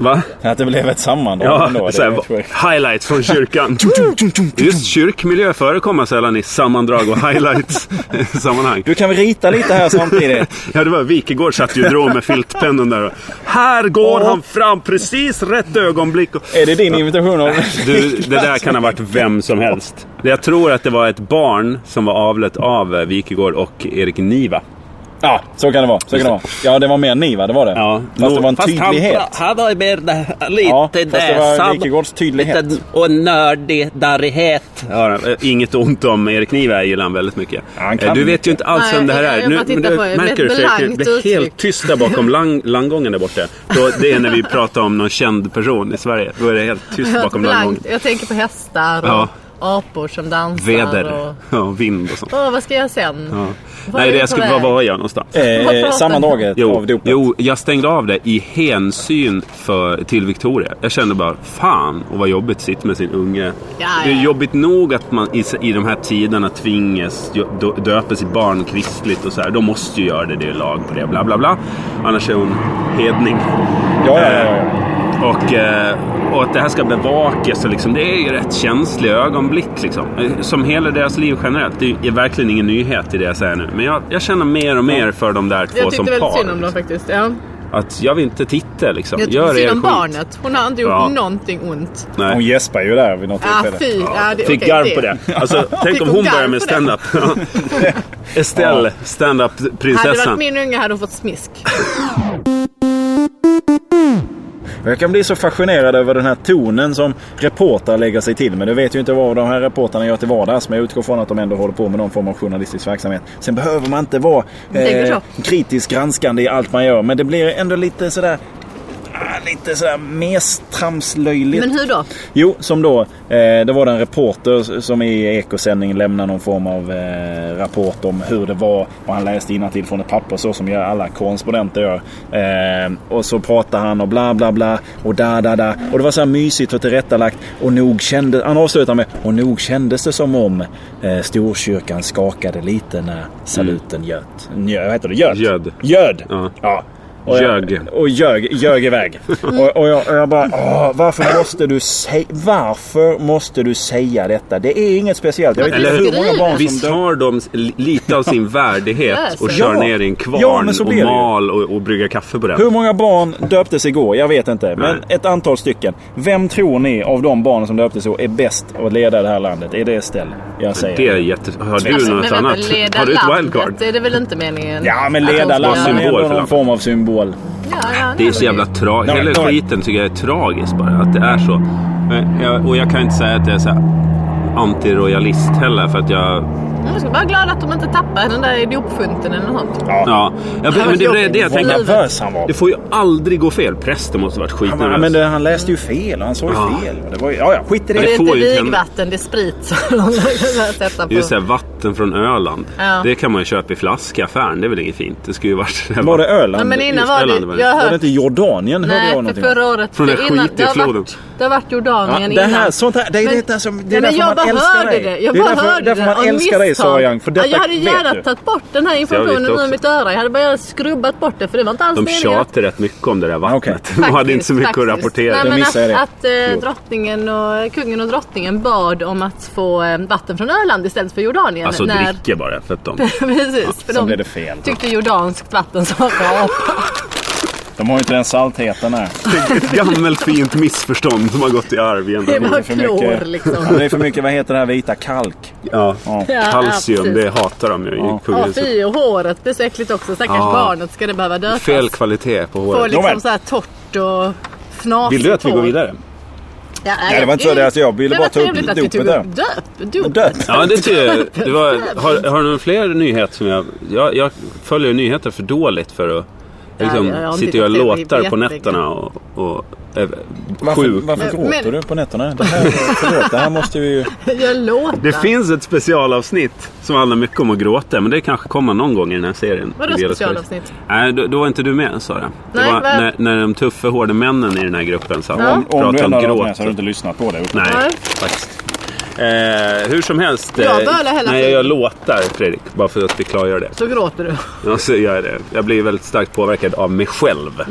[SPEAKER 1] Va?
[SPEAKER 3] Att det blev ett sammandrag ändå.
[SPEAKER 1] Ja,
[SPEAKER 3] Det
[SPEAKER 1] så här,
[SPEAKER 3] är sjukt.
[SPEAKER 1] highlights från
[SPEAKER 3] *laughs*
[SPEAKER 1] kyrkan. Just kyrkmiljö förekommer sällan i sammandrag och *laughs* highlights-sammanhang.
[SPEAKER 3] Du kan väl rita lite
[SPEAKER 1] *laughs*
[SPEAKER 3] här samtidigt?
[SPEAKER 1] Ja, det var Wikegård satt ju och drog med filtpennan där. och, Här går han fram precis rätt ögonblick. Och...
[SPEAKER 3] Är det din invitation? Av...
[SPEAKER 1] Du, det där kan ha varit vem som helst. Jag tror att det var ett barn som var avlet av eh, Wikegård och Erik Niva.
[SPEAKER 3] Ja, så kan det vara. Så kan det vara. Ja, det var mer ni va? Det var det. Fast det var en tydlighet.
[SPEAKER 4] Han, var ju mer där- lite
[SPEAKER 3] Ja, fast det var
[SPEAKER 4] näsan.
[SPEAKER 3] Wikegårds tydlighet.
[SPEAKER 4] Lite och nördighet.
[SPEAKER 1] Ja, eh, inget ont om Erik Niva, jag gillar han väldigt mycket.
[SPEAKER 3] han kan
[SPEAKER 1] Eh, du vet ju
[SPEAKER 3] mycket.
[SPEAKER 1] inte alls
[SPEAKER 2] Nej,
[SPEAKER 1] vem det här
[SPEAKER 2] jag-
[SPEAKER 1] är.
[SPEAKER 2] jag bara
[SPEAKER 1] men
[SPEAKER 2] tittar
[SPEAKER 1] du
[SPEAKER 2] på er.
[SPEAKER 1] märker
[SPEAKER 2] Det är
[SPEAKER 1] du,
[SPEAKER 2] ett
[SPEAKER 1] Fredrik,
[SPEAKER 2] belangt
[SPEAKER 1] det är
[SPEAKER 2] uttryck.
[SPEAKER 1] helt tyst där bakom lang, langgången där borta. Då, det är när vi pratar om någon känd person i Sverige. Då är det helt
[SPEAKER 2] *laughs*
[SPEAKER 1] tyst
[SPEAKER 2] Jag,
[SPEAKER 1] bakom langgången.
[SPEAKER 2] blankt. jag tänker på hästar och
[SPEAKER 1] Ja.
[SPEAKER 2] apor som dansar.
[SPEAKER 1] Väder,
[SPEAKER 2] Och...
[SPEAKER 1] ja, vind och sånt.
[SPEAKER 2] Åh, vad ska jag göra sen?
[SPEAKER 1] Ja.
[SPEAKER 2] Var
[SPEAKER 1] Nej, det
[SPEAKER 2] är vi
[SPEAKER 1] jag
[SPEAKER 2] på
[SPEAKER 1] skulle,
[SPEAKER 2] väg?
[SPEAKER 1] vad var jag någonstans?
[SPEAKER 3] Eh, sammandraget av
[SPEAKER 1] Jo,
[SPEAKER 3] dopet.
[SPEAKER 1] jo, jag stängde av det i hänsyn för, till Victoria. Jag kände bara, fan och vad jobbigt att sitta med sin unge.
[SPEAKER 2] ja.
[SPEAKER 1] Det är jobbigt nog att man i, i de här tiderna tvingas jo- dö- döpa sitt barn kristligt och så här. De måste ju göra det, det är lag på det, bla bla bla. Annars är hon hedning.
[SPEAKER 3] Ja, ja, ja,
[SPEAKER 1] Eh.
[SPEAKER 3] ja.
[SPEAKER 1] Och, eh, och att det här ska bevakas, och liksom, det är ju rätt känsliga ögonblick. Liksom. Eh, Som hela deras liv generellt. Det är verkligen ingen nyhet i det jag säger nu. Men jag, jag känner mer och mer för de där två
[SPEAKER 2] Jag
[SPEAKER 1] som
[SPEAKER 2] tyckte
[SPEAKER 1] par.
[SPEAKER 2] väldigt synd om
[SPEAKER 1] liksom.
[SPEAKER 2] dem faktiskt. Ja.
[SPEAKER 1] Att jag vill inte titta liksom.
[SPEAKER 2] Jag tyckte
[SPEAKER 1] Gör er
[SPEAKER 2] synd om
[SPEAKER 1] skit.
[SPEAKER 2] barnet. Hon har inte gjort
[SPEAKER 1] Ja.
[SPEAKER 2] någonting ont.
[SPEAKER 3] Hon
[SPEAKER 1] Nej.
[SPEAKER 3] gäspar ju där vid något
[SPEAKER 2] Ah,
[SPEAKER 3] tillfälle.
[SPEAKER 2] fy. Ja, det,
[SPEAKER 1] Fick
[SPEAKER 2] okej,
[SPEAKER 1] garv på det.
[SPEAKER 2] *laughs*
[SPEAKER 1] Alltså, tänk
[SPEAKER 2] Fick
[SPEAKER 1] om
[SPEAKER 2] hon
[SPEAKER 1] hon
[SPEAKER 2] garv
[SPEAKER 1] börjar med
[SPEAKER 2] på det?
[SPEAKER 1] stand-up. Estelle,
[SPEAKER 2] Hade det varit
[SPEAKER 1] stand-up-prinsessan.
[SPEAKER 2] min unge hade hon fått smisk.
[SPEAKER 3] Jag kan bli så fascinerad över den här tonen som reportrar lägger sig till med. Du vet ju inte vad de här reportrarna gör till vardags. Men jag utgår från att de ändå håller på med någon form av journalistisk verksamhet. Sen behöver man inte vara
[SPEAKER 2] tänker
[SPEAKER 3] eh,
[SPEAKER 2] så.
[SPEAKER 3] kritiskt granskande i allt man gör. Men det blir ändå lite sådär... ah, Lite sådär mestramslöjligt.
[SPEAKER 2] Men hur då?
[SPEAKER 3] Jo, som då. Eh, det var det en reporter som i Ekosändning lämnade någon form av eh, rapport om hur det var. Och han läste till från ett papper så som gör alla korrespondenter gör. Eh, och så pratade han och bla bla bla och da da da. Och det var så här mysigt och tillrättalagt. Och nog kändes, han avslutade med och nog kändes det som om eh, Storkyrkan skakade lite när saluten göt. Njö, vad heter det? Göt?
[SPEAKER 1] Mm. Göd.
[SPEAKER 3] Göd.
[SPEAKER 1] Ja.
[SPEAKER 3] ja. Och jag-
[SPEAKER 1] Ljög. Mm.
[SPEAKER 3] och ljög, ljög iväg. Och, och, jag, och jag bara, "Åh, varför måste, du sä- varför måste du säga detta? Det är inget speciellt. Jag vet inte
[SPEAKER 1] Eller hur?
[SPEAKER 3] hur många barn som
[SPEAKER 1] Visst
[SPEAKER 3] dör.
[SPEAKER 1] har de s- li- lite av
[SPEAKER 2] *laughs*
[SPEAKER 1] sin värdighet och
[SPEAKER 2] Ja,
[SPEAKER 1] kör
[SPEAKER 3] så.
[SPEAKER 1] ner i en kvarn
[SPEAKER 3] Ja, men så
[SPEAKER 1] och
[SPEAKER 3] blir det ju.
[SPEAKER 1] mal och, och brygger kaffe på den?
[SPEAKER 3] Hur många barn döptes igår? Jag vet inte. Men
[SPEAKER 1] Nej.
[SPEAKER 3] ett antal stycken. Vem tror ni av de barnen som döptes igår är bäst att leda det här landet? Är det Estelle? Jag säger.
[SPEAKER 1] Det är jätte... Har du
[SPEAKER 2] Alltså, men
[SPEAKER 1] något
[SPEAKER 2] vänta,
[SPEAKER 1] annat?
[SPEAKER 2] leda
[SPEAKER 1] Har du ett
[SPEAKER 2] landet,
[SPEAKER 1] wildcard?
[SPEAKER 2] Det är det väl inte meningen?
[SPEAKER 3] Ja, men
[SPEAKER 2] att de
[SPEAKER 3] leda
[SPEAKER 2] ska
[SPEAKER 3] landet
[SPEAKER 1] symbol
[SPEAKER 3] är
[SPEAKER 2] göra?
[SPEAKER 1] för
[SPEAKER 3] ändå någon
[SPEAKER 1] landet.
[SPEAKER 3] form av symbol.
[SPEAKER 2] Ja, ja,
[SPEAKER 1] Det är så jävla tragiskt.
[SPEAKER 3] Nej,
[SPEAKER 1] Hela
[SPEAKER 3] nej.
[SPEAKER 1] skiten tycker jag är tragisk bara. Att det är så. Eh, jag- Och jag kan inte säga att jag är så här antirojalist heller för att jag...
[SPEAKER 2] Jag ska vara glad att de inte tappar den där dopfunten eller något sånt.
[SPEAKER 1] Ja. Jag,
[SPEAKER 2] Det här
[SPEAKER 1] men det är det,
[SPEAKER 2] jobbigt.
[SPEAKER 1] jag
[SPEAKER 3] Vad
[SPEAKER 1] tänker.
[SPEAKER 3] nervös han var.
[SPEAKER 1] Det får ju aldrig gå fel. Prästen måste ha varit
[SPEAKER 3] Ja, men-
[SPEAKER 1] skitnervös.
[SPEAKER 3] men det, han läste ju fel och han sa ju
[SPEAKER 1] Ja.
[SPEAKER 3] fel. Det var, ju- ja, ja, skit i det.
[SPEAKER 2] Det är
[SPEAKER 1] får
[SPEAKER 2] inte
[SPEAKER 1] ju inte hända.
[SPEAKER 2] vigvatten, det är sprit som de kan sätta på.
[SPEAKER 1] Just det, här, vatten från Öland.
[SPEAKER 2] Ja.
[SPEAKER 1] Det kan man ju köpa i flaska i affären. Det är väl inget fint. Det skulle ju varit...
[SPEAKER 3] Var det
[SPEAKER 2] Ja,
[SPEAKER 3] Öland?
[SPEAKER 2] men innan
[SPEAKER 1] just
[SPEAKER 2] var
[SPEAKER 1] Öland var
[SPEAKER 2] det...
[SPEAKER 1] det.
[SPEAKER 2] Jag har
[SPEAKER 3] Var det
[SPEAKER 2] hört...
[SPEAKER 3] inte Jordanien? Hörde jag
[SPEAKER 2] Nej, för
[SPEAKER 3] någonting om?
[SPEAKER 2] förra året.
[SPEAKER 1] Från den
[SPEAKER 2] för innan-
[SPEAKER 1] skitiga
[SPEAKER 2] Det har
[SPEAKER 1] floden.
[SPEAKER 2] varit, det har varit Jordanien
[SPEAKER 3] Ja, det här,
[SPEAKER 2] innan.
[SPEAKER 3] sånt här, det är
[SPEAKER 2] Men-
[SPEAKER 3] detta som, det är
[SPEAKER 2] Nej, men
[SPEAKER 3] därför
[SPEAKER 2] jag
[SPEAKER 3] man
[SPEAKER 2] bara
[SPEAKER 3] älskar
[SPEAKER 2] hörde
[SPEAKER 3] dig.
[SPEAKER 2] det. Jag
[SPEAKER 3] det är
[SPEAKER 2] bara
[SPEAKER 3] därför,
[SPEAKER 2] hörde
[SPEAKER 3] därför
[SPEAKER 2] det.
[SPEAKER 3] man
[SPEAKER 2] Av
[SPEAKER 3] älskar dig Sara Young, för detta
[SPEAKER 2] ja, jag hade
[SPEAKER 3] vet
[SPEAKER 2] gärna
[SPEAKER 3] du.
[SPEAKER 2] tagit bort den här
[SPEAKER 1] Jag
[SPEAKER 2] informationen
[SPEAKER 1] vet också.
[SPEAKER 2] ur mitt öra. Jag hade bara skrubbat bort det för det var inte alls
[SPEAKER 1] De
[SPEAKER 2] meningen.
[SPEAKER 1] tjatar rätt mycket om det där vattnet.
[SPEAKER 3] Okej.
[SPEAKER 1] De hade inte så mycket
[SPEAKER 2] Faktiskt,
[SPEAKER 1] att rapportera.
[SPEAKER 2] faktiskt.
[SPEAKER 3] Jag
[SPEAKER 2] Nej,
[SPEAKER 3] missade
[SPEAKER 2] men
[SPEAKER 3] det.
[SPEAKER 2] att, att eh,
[SPEAKER 3] Förlåt.
[SPEAKER 2] drottningen och, kungen och drottningen bad om att få eh, vatten från Öland istället för Jordanien.
[SPEAKER 1] Alltså
[SPEAKER 2] när,
[SPEAKER 1] dricker bara. För att de...
[SPEAKER 2] *laughs* Precis, för
[SPEAKER 3] sen
[SPEAKER 2] de
[SPEAKER 3] blev det fel.
[SPEAKER 2] tyckte jordanskt vatten som var bra.
[SPEAKER 3] De har ju inte den saltheten här.
[SPEAKER 1] Ett gammalt fint missförstånd som har gått i arv
[SPEAKER 2] Det
[SPEAKER 1] genom
[SPEAKER 2] var
[SPEAKER 3] för mycket-
[SPEAKER 2] klor liksom.
[SPEAKER 3] Ja, Det är för mycket, vad heter det här vita, kalk?
[SPEAKER 1] ja.
[SPEAKER 2] Ja,
[SPEAKER 1] Kalcium,
[SPEAKER 2] absolut.
[SPEAKER 1] det hatar de ju. i
[SPEAKER 2] Ja,
[SPEAKER 1] kungahuset.
[SPEAKER 2] fy och håret blir så äckligt också. Stackars
[SPEAKER 1] Ja.
[SPEAKER 2] barnet ska det behöva döpas.
[SPEAKER 1] Fel kvalitet på
[SPEAKER 2] Få
[SPEAKER 1] håret.
[SPEAKER 2] liksom
[SPEAKER 3] Nåväl.
[SPEAKER 2] så här torrt och fnasigt
[SPEAKER 1] Vill du att vi går
[SPEAKER 2] hår.
[SPEAKER 1] vidare?
[SPEAKER 2] Ja,
[SPEAKER 3] det var inte så, det är alltså jag ville
[SPEAKER 2] Men
[SPEAKER 3] bara
[SPEAKER 2] vad
[SPEAKER 3] ta upp
[SPEAKER 2] trevligt att vi
[SPEAKER 3] dopet
[SPEAKER 2] tog
[SPEAKER 3] där.
[SPEAKER 2] upp Döp, dop.
[SPEAKER 3] Död.
[SPEAKER 1] Ja, det tycker jag. Det var, har, har du någon fler nyhet som jag... Jag, jag följer nyheter för dåligt för att... Jag
[SPEAKER 2] Ja,
[SPEAKER 1] liksom
[SPEAKER 2] jag har
[SPEAKER 1] sitter
[SPEAKER 2] tittat
[SPEAKER 1] jag och
[SPEAKER 2] på TV
[SPEAKER 1] låtar på
[SPEAKER 2] jättelänge.
[SPEAKER 1] nätterna och... och är
[SPEAKER 3] Varför,
[SPEAKER 1] sjuk.
[SPEAKER 3] varför
[SPEAKER 2] Men-
[SPEAKER 3] gråter
[SPEAKER 2] men-
[SPEAKER 3] du på nätterna? Det här, förlåt, det här måste vi ju...
[SPEAKER 2] *laughs* Jag låter.
[SPEAKER 1] Det finns ett specialavsnitt som handlar mycket om att gråta. Men det kanske kommer någon gång i den här serien.
[SPEAKER 2] Vadå
[SPEAKER 1] I Velas
[SPEAKER 2] specialavsnitt?
[SPEAKER 1] Bergs. Nej, då, då var inte du med Sara. Det
[SPEAKER 2] Nej,
[SPEAKER 1] var
[SPEAKER 2] vad-
[SPEAKER 1] när, när de tuffa hårda männen i den här gruppen satt
[SPEAKER 2] Ja.
[SPEAKER 1] och
[SPEAKER 3] Om du
[SPEAKER 1] pratade
[SPEAKER 3] ändå
[SPEAKER 1] om
[SPEAKER 3] hade varit med
[SPEAKER 1] gråt.
[SPEAKER 3] så hade du inte lyssnat på det.
[SPEAKER 1] Nej,
[SPEAKER 2] Nej.
[SPEAKER 1] faktiskt. Eh, hur som helst. eh,
[SPEAKER 2] Jag bölar hela
[SPEAKER 1] Nej,
[SPEAKER 2] tiden.
[SPEAKER 1] jag låtar Fredrik. Bara för att vi klargör det.
[SPEAKER 2] Så gråter du.
[SPEAKER 1] Ja, så gör jag det. Jag blir väldigt starkt påverkad av mig själv.
[SPEAKER 2] *laughs*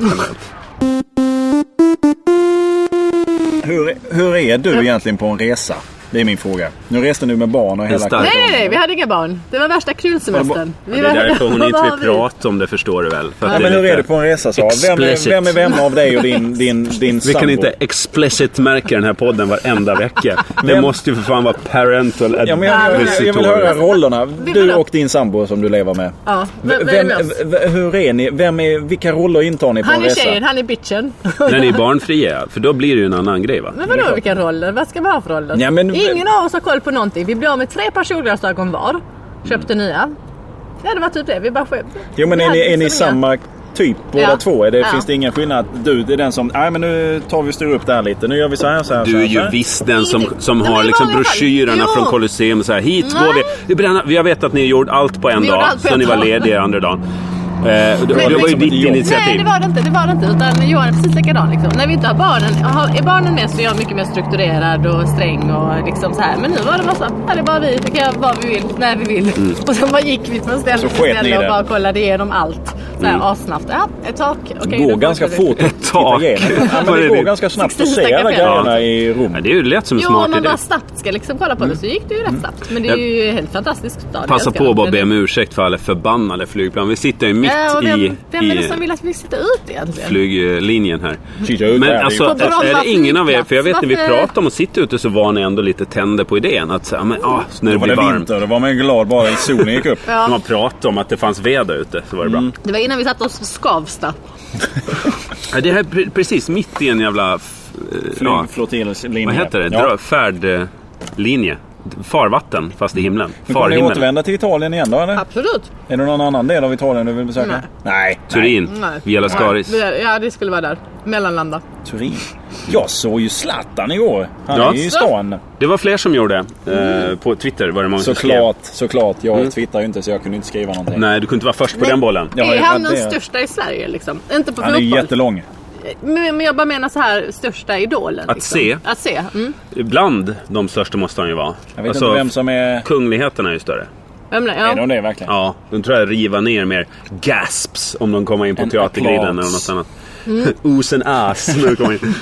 [SPEAKER 3] Hur, hur är du egentligen på en resa? Det är min fråga. Nu reste du med barn och hela...
[SPEAKER 1] stark.
[SPEAKER 2] Nej, nej, nej. Vi hade inga barn. Det var värsta krylsemestern.
[SPEAKER 1] Det är
[SPEAKER 2] *laughs*
[SPEAKER 1] därför hon inte
[SPEAKER 2] Vad har
[SPEAKER 1] vill
[SPEAKER 2] vi?
[SPEAKER 1] prata om det förstår du väl? För att
[SPEAKER 3] Nej,
[SPEAKER 1] det
[SPEAKER 3] men hur
[SPEAKER 1] lite-
[SPEAKER 3] är du på en resa Sara? Vem är,
[SPEAKER 1] Explicit.
[SPEAKER 3] vem är vem av dig och din, din, din
[SPEAKER 1] Vi
[SPEAKER 3] sambo?
[SPEAKER 1] kan inte explicit märka den här podden varenda
[SPEAKER 3] *laughs*
[SPEAKER 1] vecka. Det
[SPEAKER 3] Vem-
[SPEAKER 1] måste ju för fan vara parental
[SPEAKER 3] Ja, men jag, jag, jag, jag vill höra
[SPEAKER 1] advisitory.
[SPEAKER 3] rollerna. Du
[SPEAKER 2] vadå?
[SPEAKER 3] och din sambo som du lever med.
[SPEAKER 2] Ja.
[SPEAKER 3] V-
[SPEAKER 2] Vem, vem,
[SPEAKER 3] Vem,
[SPEAKER 2] är med oss?
[SPEAKER 3] v- hur är ni? Vem är, vilka roller intar ni på en
[SPEAKER 2] Han är
[SPEAKER 3] resa?
[SPEAKER 2] tjejen, han är bitchen.
[SPEAKER 1] När ni är barnfria, för då blir det ju en annan grej va?
[SPEAKER 2] Men vadå vilka roller? Vad ska vi ha för roller?
[SPEAKER 3] Ja, men-
[SPEAKER 2] Ingen av oss har koll på någonting. Vi blev av med tre par solglasögon var. Köpte nya. Ja det var typ det. Vi bara sköp.
[SPEAKER 3] Jo men
[SPEAKER 2] Vi
[SPEAKER 3] är ni,
[SPEAKER 2] hade
[SPEAKER 3] är ni
[SPEAKER 2] liksom inga-
[SPEAKER 3] samma typ båda
[SPEAKER 2] Ja.
[SPEAKER 3] två? Är det,
[SPEAKER 2] Ja.
[SPEAKER 3] Finns det ingen skillnad? att Du det är den som, nej men nu tar vi och styr upp det här lite. Nu gör vi så här så här. så
[SPEAKER 1] Du
[SPEAKER 3] här,
[SPEAKER 1] är
[SPEAKER 3] så
[SPEAKER 1] ju
[SPEAKER 3] här.
[SPEAKER 1] visst den som, som
[SPEAKER 2] Nej,
[SPEAKER 1] har
[SPEAKER 2] men i
[SPEAKER 1] liksom
[SPEAKER 2] vanliga fall.
[SPEAKER 1] broschyrerna
[SPEAKER 2] Jo.
[SPEAKER 1] från Colosseum så här. Hit
[SPEAKER 2] Nej.
[SPEAKER 1] går vi. Det bränna- Jag vet att ni gjorde allt på en
[SPEAKER 2] Vi gjorde
[SPEAKER 1] dag,
[SPEAKER 2] allt på
[SPEAKER 1] så
[SPEAKER 2] en
[SPEAKER 1] ni var
[SPEAKER 2] dag.
[SPEAKER 1] lediga andra dagen. Eh, det, det var ju
[SPEAKER 3] liksom
[SPEAKER 1] ditt
[SPEAKER 3] ett jobb.
[SPEAKER 2] Nej
[SPEAKER 1] initiativ.
[SPEAKER 2] det var det inte. Det var det inte. Utan Johan är precis likadan liksom. När vi inte har barnen. har- Är barnen med så är jag mycket mer strukturerad och sträng och liksom så här. Men nu var det bara så. Ja, det är bara vi. Det kan göra vad vi vill. När vi vill.
[SPEAKER 1] Mm.
[SPEAKER 2] *laughs* Och sen bara gick vi från ställe
[SPEAKER 3] Så
[SPEAKER 2] till
[SPEAKER 3] sket ni i
[SPEAKER 2] ställe och
[SPEAKER 3] det.
[SPEAKER 2] bara kollade igenom allt. Så här
[SPEAKER 1] Mm.
[SPEAKER 2] assnabbt. Ja, ett tak. Okej,
[SPEAKER 3] Går
[SPEAKER 2] då
[SPEAKER 3] ganska
[SPEAKER 2] fortsätter
[SPEAKER 3] fort
[SPEAKER 2] vi.
[SPEAKER 3] att
[SPEAKER 1] Ett tak.
[SPEAKER 3] titta igenom. Ja,
[SPEAKER 1] *laughs*
[SPEAKER 3] men
[SPEAKER 1] Vad är
[SPEAKER 3] det går
[SPEAKER 1] det?
[SPEAKER 3] ganska snabbt att
[SPEAKER 2] 16
[SPEAKER 3] se alla
[SPEAKER 2] stackars
[SPEAKER 3] grejerna
[SPEAKER 1] fel.
[SPEAKER 3] i
[SPEAKER 1] Ja,
[SPEAKER 3] rummet.
[SPEAKER 1] det är ju lätt som en
[SPEAKER 2] Jo, om
[SPEAKER 1] smart
[SPEAKER 2] man
[SPEAKER 1] idé.
[SPEAKER 2] bara snabbt ska liksom kolla på det så gick det ju rätt snabbt. Men det är
[SPEAKER 1] Jag-
[SPEAKER 2] ju helt fantastiskt stad.
[SPEAKER 1] Passa
[SPEAKER 2] älskar
[SPEAKER 1] på att bara
[SPEAKER 2] det.
[SPEAKER 1] be om ursäkt för alla förbannade flygplan. Vi sitter ju mitt
[SPEAKER 2] Ja, och
[SPEAKER 1] i,
[SPEAKER 2] vem, vem är det
[SPEAKER 1] i
[SPEAKER 2] som vill att vi sitter ut egentligen?
[SPEAKER 1] flyglinjen här.
[SPEAKER 3] Titta ut där, det är
[SPEAKER 1] Men
[SPEAKER 3] ju-
[SPEAKER 1] alltså,
[SPEAKER 2] På Bromma
[SPEAKER 1] är det ingen av er,
[SPEAKER 2] flygplats,
[SPEAKER 1] för jag vet när vi
[SPEAKER 2] varför-
[SPEAKER 1] pratade om att sitta ute så var ni ändå lite tända på idén att så här, men, ah, så när det
[SPEAKER 3] Då var det
[SPEAKER 1] blir varmt.
[SPEAKER 3] vinter, då var man ju glad bara i solen gick upp.
[SPEAKER 1] När man pratade om att det fanns väder ute så var det bra.
[SPEAKER 3] Mm.
[SPEAKER 2] Det var innan vi satte oss på Skavsta.
[SPEAKER 1] Ja, det här är pre- precis mitt i en jävla... f- eh, ja,
[SPEAKER 3] Flygflottiljens linje.
[SPEAKER 1] vad heter det? Dra- Färdlinje. Farvatten, fast i himlen.
[SPEAKER 3] Kommer ni
[SPEAKER 1] Farhimmel.
[SPEAKER 3] återvända till Italien igen då eller?
[SPEAKER 2] Absolut.
[SPEAKER 3] Är det någon annan del av Italien du vill besöka?
[SPEAKER 2] Nej.
[SPEAKER 3] Nej.
[SPEAKER 1] Turin.
[SPEAKER 2] Nej.
[SPEAKER 1] Via Lascaris.
[SPEAKER 2] Nej, vi- Ja, det skulle vara där. Mellanlanda.
[SPEAKER 3] Turin. Jag såg ju Zlatan igår. Han
[SPEAKER 1] Ja.
[SPEAKER 3] är ju i stan.
[SPEAKER 1] Det var fler som gjorde. Eh, på Twitter var det många som skrev.
[SPEAKER 3] Mm. Såklart, såklart. Jag twittrar ju inte så jag kunde inte skriva någonting.
[SPEAKER 1] Mm. Nej, du kunde inte vara först på den bollen.
[SPEAKER 3] Ja,
[SPEAKER 2] är
[SPEAKER 3] jag
[SPEAKER 2] han
[SPEAKER 3] hade
[SPEAKER 2] den
[SPEAKER 3] det.
[SPEAKER 2] största i Sverige liksom? Inte på
[SPEAKER 3] Han är ju
[SPEAKER 2] fotboll.
[SPEAKER 3] jättelång.
[SPEAKER 2] Men men jag bara menar så här, största idolen.
[SPEAKER 1] Att
[SPEAKER 2] liksom.
[SPEAKER 1] se.
[SPEAKER 2] Att se. Mm.
[SPEAKER 1] Bland de största måste han ju vara.
[SPEAKER 3] Jag vet inte vem som är...
[SPEAKER 1] Kungligheterna är ju större.
[SPEAKER 2] Jag menar,
[SPEAKER 3] Är de
[SPEAKER 2] ja.
[SPEAKER 3] det verkligen?
[SPEAKER 1] Ja, de tror jag riva ner mer gasps om de kommer in på
[SPEAKER 3] En Mm.
[SPEAKER 1] teatergrillen
[SPEAKER 3] applåd.
[SPEAKER 1] eller något annat. *laughs* Osen ass när de kommer
[SPEAKER 3] *laughs*
[SPEAKER 1] in.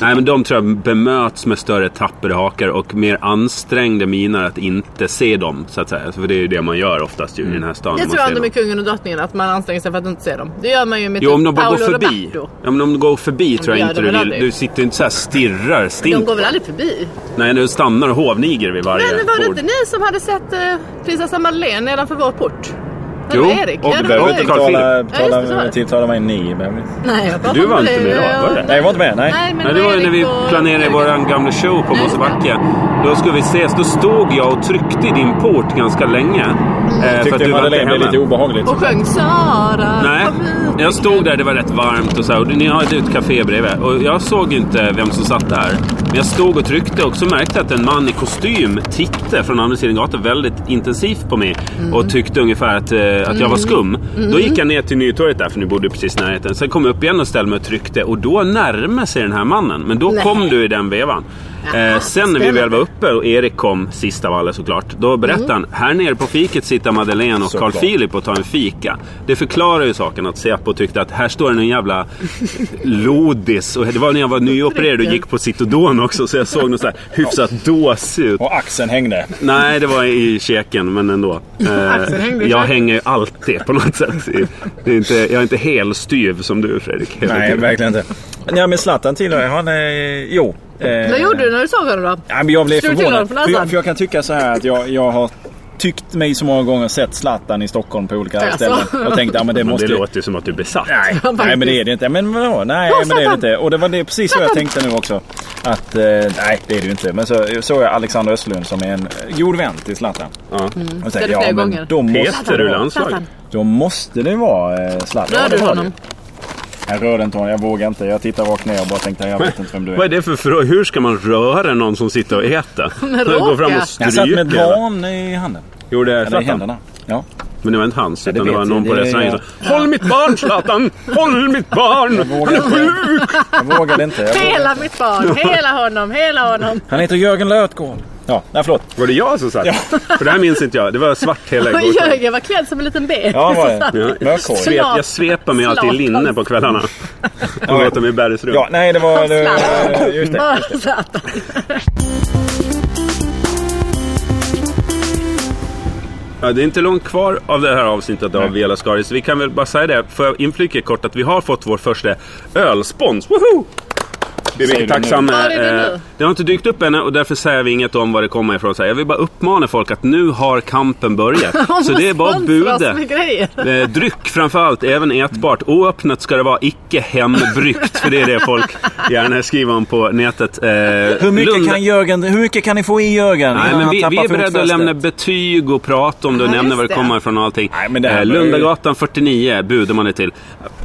[SPEAKER 1] Nej men de tror jag bemöts med större tapperhakar och mer ansträngda miner att inte se dem. Så att säga. För det är ju det man gör oftast ju
[SPEAKER 3] Mm.
[SPEAKER 1] i den här staden.
[SPEAKER 2] Det
[SPEAKER 1] man
[SPEAKER 2] tror jag
[SPEAKER 1] ser
[SPEAKER 2] ändå
[SPEAKER 1] dem.
[SPEAKER 2] med kungen och drottningen, att man anstränger sig för att inte se dem. Det gör man ju med
[SPEAKER 1] Jo
[SPEAKER 2] typ
[SPEAKER 1] om de bara går
[SPEAKER 2] Paolo
[SPEAKER 1] förbi.
[SPEAKER 2] Roberto.
[SPEAKER 1] Ja, men om de går förbi tror
[SPEAKER 2] Ja,
[SPEAKER 1] jag
[SPEAKER 2] de
[SPEAKER 1] inte du
[SPEAKER 2] gör
[SPEAKER 1] vill.
[SPEAKER 2] det.
[SPEAKER 1] Du sitter ju inte så här stirrar
[SPEAKER 2] De
[SPEAKER 1] stint.
[SPEAKER 2] går väl aldrig förbi?
[SPEAKER 1] Nej du stannar och hovniger vid varje
[SPEAKER 2] Men var det
[SPEAKER 1] bord.
[SPEAKER 2] inte ni som hade sett eh, prinsessa Madeleine nedanför vår port? Det
[SPEAKER 1] Jo,
[SPEAKER 2] var Erik.
[SPEAKER 1] och
[SPEAKER 2] ja,
[SPEAKER 1] du
[SPEAKER 2] det
[SPEAKER 1] behöver
[SPEAKER 2] var
[SPEAKER 1] inte
[SPEAKER 2] Erik.
[SPEAKER 1] Carl
[SPEAKER 3] Tala,
[SPEAKER 1] Philip.
[SPEAKER 2] Ja, just det, så är
[SPEAKER 3] tala,
[SPEAKER 2] det.
[SPEAKER 3] tilltala mig ni. men-
[SPEAKER 2] Nej, jag
[SPEAKER 1] Du var inte med idag, var du det?
[SPEAKER 3] Nej, jag var inte med. Nej.
[SPEAKER 2] Nej, men
[SPEAKER 1] Nej, det var ju när vi
[SPEAKER 2] Erik och-
[SPEAKER 1] planerade vår gamla show
[SPEAKER 2] Mm.
[SPEAKER 1] på Mosebacke. Då skulle vi ses. Då stod jag och tryckte i din port ganska länge. Eh, för att du
[SPEAKER 3] Tyckte
[SPEAKER 1] var inte
[SPEAKER 3] Madeleine blev lite
[SPEAKER 1] hemma.
[SPEAKER 3] obehagligt.
[SPEAKER 2] Och sjöng Sara
[SPEAKER 1] Nej,
[SPEAKER 2] kom hit.
[SPEAKER 1] jag stod där. Det var rätt varmt och så här, och ni har ett litet café bredvid. Och jag såg ju inte vem som satt där. Men jag stod och tryckte och så märkte jag att en man i kostym tittade från andra sidan gatan väldigt intensivt på mig.
[SPEAKER 2] Mm.
[SPEAKER 1] Och tyckte ungefär att, eh, att jag var skum. Då gick jag ner till Nytorget där, för ni bodde precis i närheten. Sen kom jag upp igen och ställde mig och tryckte. Och då närmade sig den här mannen. Men då
[SPEAKER 2] Nej.
[SPEAKER 1] kom du i den vevan. Eh, sen när vi väl var uppe och Erik kom sist av alla såklart. Då berättade
[SPEAKER 2] Mm.
[SPEAKER 1] han, här nere på fiket sitter Madeleine och Carl
[SPEAKER 3] Såklart.
[SPEAKER 1] Philip och tar en fika. Det förklarar ju saken att Säpo tyckte att här står en jävla lodis. Och det var när jag var nyopererad och gick på Citodon också så jag såg något så här hyfsat dåsig ut.
[SPEAKER 3] Och axeln hängde.
[SPEAKER 1] Nej, det var i käken, men ändå. Eh,
[SPEAKER 2] Axel hängde i
[SPEAKER 1] jag
[SPEAKER 2] käken.
[SPEAKER 1] hänger ju alltid på något sätt. i- Det är inte, jag är inte helstyv som du Fredrik. hela
[SPEAKER 3] Nej,
[SPEAKER 1] tiden.
[SPEAKER 3] verkligen inte. Nej, men Zlatan tillhör han... Eh, jo. Eh,
[SPEAKER 2] Vad gjorde du när du såg honom då?
[SPEAKER 3] Nej, men jag blev
[SPEAKER 2] Slog du till
[SPEAKER 3] förvånad.
[SPEAKER 2] honom på
[SPEAKER 3] För jag,
[SPEAKER 2] näsan?
[SPEAKER 3] för jag kan tycka så här att jag, jag har tyckt mig så många gånger sett Zlatan i Stockholm på olika
[SPEAKER 2] Alltså.
[SPEAKER 3] ställen. Och tänkt att ja, men det
[SPEAKER 1] Men
[SPEAKER 3] måste...
[SPEAKER 1] det låter ju som att du är besatt.
[SPEAKER 2] *laughs*
[SPEAKER 3] Nej,
[SPEAKER 2] Ja,
[SPEAKER 3] nej, men det är det inte. Men vadå? Nej,
[SPEAKER 2] Ja,
[SPEAKER 3] men det är det
[SPEAKER 2] Zlatan.
[SPEAKER 3] inte. Och det var det, precis så jag tänkte nu också. Att eh, nej, det är det ju inte. Men så såg jag Alexander Östlund som är en eh, god vän till Zlatan.
[SPEAKER 1] Ja.
[SPEAKER 3] Och
[SPEAKER 2] Ska det Mm. flera
[SPEAKER 3] men
[SPEAKER 2] gånger?
[SPEAKER 3] Då måste,
[SPEAKER 1] Peter ur
[SPEAKER 3] det vara,
[SPEAKER 1] landslag.
[SPEAKER 2] Zlatan.
[SPEAKER 3] då måste det vara eh, Zlatan. Ja,
[SPEAKER 2] Rör
[SPEAKER 3] det
[SPEAKER 2] du
[SPEAKER 3] var det.
[SPEAKER 2] honom?
[SPEAKER 3] Jag rörde inte honom. Jag vågar inte. Jag tittar rakt ner och bara tänkte jag vet inte vem du
[SPEAKER 1] Vad är
[SPEAKER 3] är.
[SPEAKER 1] det för fråga? Hur ska man röra någon som sitter och äter?
[SPEAKER 2] Men
[SPEAKER 1] Gå fram
[SPEAKER 2] råka.
[SPEAKER 1] och
[SPEAKER 3] Jag satt med ett
[SPEAKER 1] stryka.
[SPEAKER 3] barn i handen.
[SPEAKER 1] Gjorde
[SPEAKER 3] Eller i
[SPEAKER 1] Zlatan?
[SPEAKER 3] händerna. Ja.
[SPEAKER 1] Men det var inte hans, utan det,
[SPEAKER 3] vet
[SPEAKER 1] var
[SPEAKER 3] jag.
[SPEAKER 1] någon på
[SPEAKER 3] Det är
[SPEAKER 1] restaurangen som
[SPEAKER 3] jag.
[SPEAKER 1] Håll mitt barn Zlatan! Håll mitt barn! Han är sjuk!
[SPEAKER 3] Jag vågade inte. Jag vågade.
[SPEAKER 2] Hela mitt barn, hela honom, hela honom.
[SPEAKER 3] Han heter Jörgen Lötgård. Ja, nej förlåt.
[SPEAKER 1] Var det jag som satt? För det här minns inte jag. Det var svart hela
[SPEAKER 2] Och Jörgen var klädd som en liten bebis.
[SPEAKER 3] Ja,
[SPEAKER 2] *laughs*
[SPEAKER 3] var det.
[SPEAKER 1] Ja.
[SPEAKER 3] Mörkhårig.
[SPEAKER 1] Svep, jag svepar mig alltid i linne på
[SPEAKER 3] *laughs*
[SPEAKER 1] kvällarna. Och låter mig bära runt.
[SPEAKER 3] Ja, nej det var... Det,
[SPEAKER 2] Zlatan.
[SPEAKER 3] just det.
[SPEAKER 2] Bara Zlatan.
[SPEAKER 1] Ja, det är inte långt kvar av det här avsnittet av Vela Skaris. Vi kan väl bara säga det, får jag inflika kort att vi har fått vår första ölspons. Woho! Vi är
[SPEAKER 3] Säger
[SPEAKER 1] mycket
[SPEAKER 3] du nu.
[SPEAKER 1] tacksamma.
[SPEAKER 2] Var är det nu?
[SPEAKER 1] Eh, Det har inte dykt upp ännu och därför säger vi inget om var det kommer ifrån. Så här, Jag vill bara uppmana folk att nu har kampen
[SPEAKER 2] *laughs*
[SPEAKER 1] börjat. Så det är bara att
[SPEAKER 2] Sponsra oss
[SPEAKER 1] buda.
[SPEAKER 2] med grejer.
[SPEAKER 1] Eh, dryck framförallt, även ätbart. Oöppnat ska det vara, icke hembryggt. För det är det folk gärna skriver om på nätet. Eh,
[SPEAKER 3] Hur mycket, kan Jörgen, hur mycket kan ni få i Jörgen?
[SPEAKER 1] Nej,
[SPEAKER 3] innan
[SPEAKER 1] men
[SPEAKER 3] han
[SPEAKER 1] vi,
[SPEAKER 3] tappar
[SPEAKER 1] vi är beredda
[SPEAKER 3] fotfästet?
[SPEAKER 1] att lämna betyg och prata om det och
[SPEAKER 2] Ja,
[SPEAKER 1] nämna
[SPEAKER 2] just
[SPEAKER 1] var det
[SPEAKER 2] det.
[SPEAKER 1] kommer ifrån och allting.
[SPEAKER 3] Nej, men det här
[SPEAKER 1] Eh,
[SPEAKER 3] var ju-
[SPEAKER 1] Lundagatan 49 budar man det till.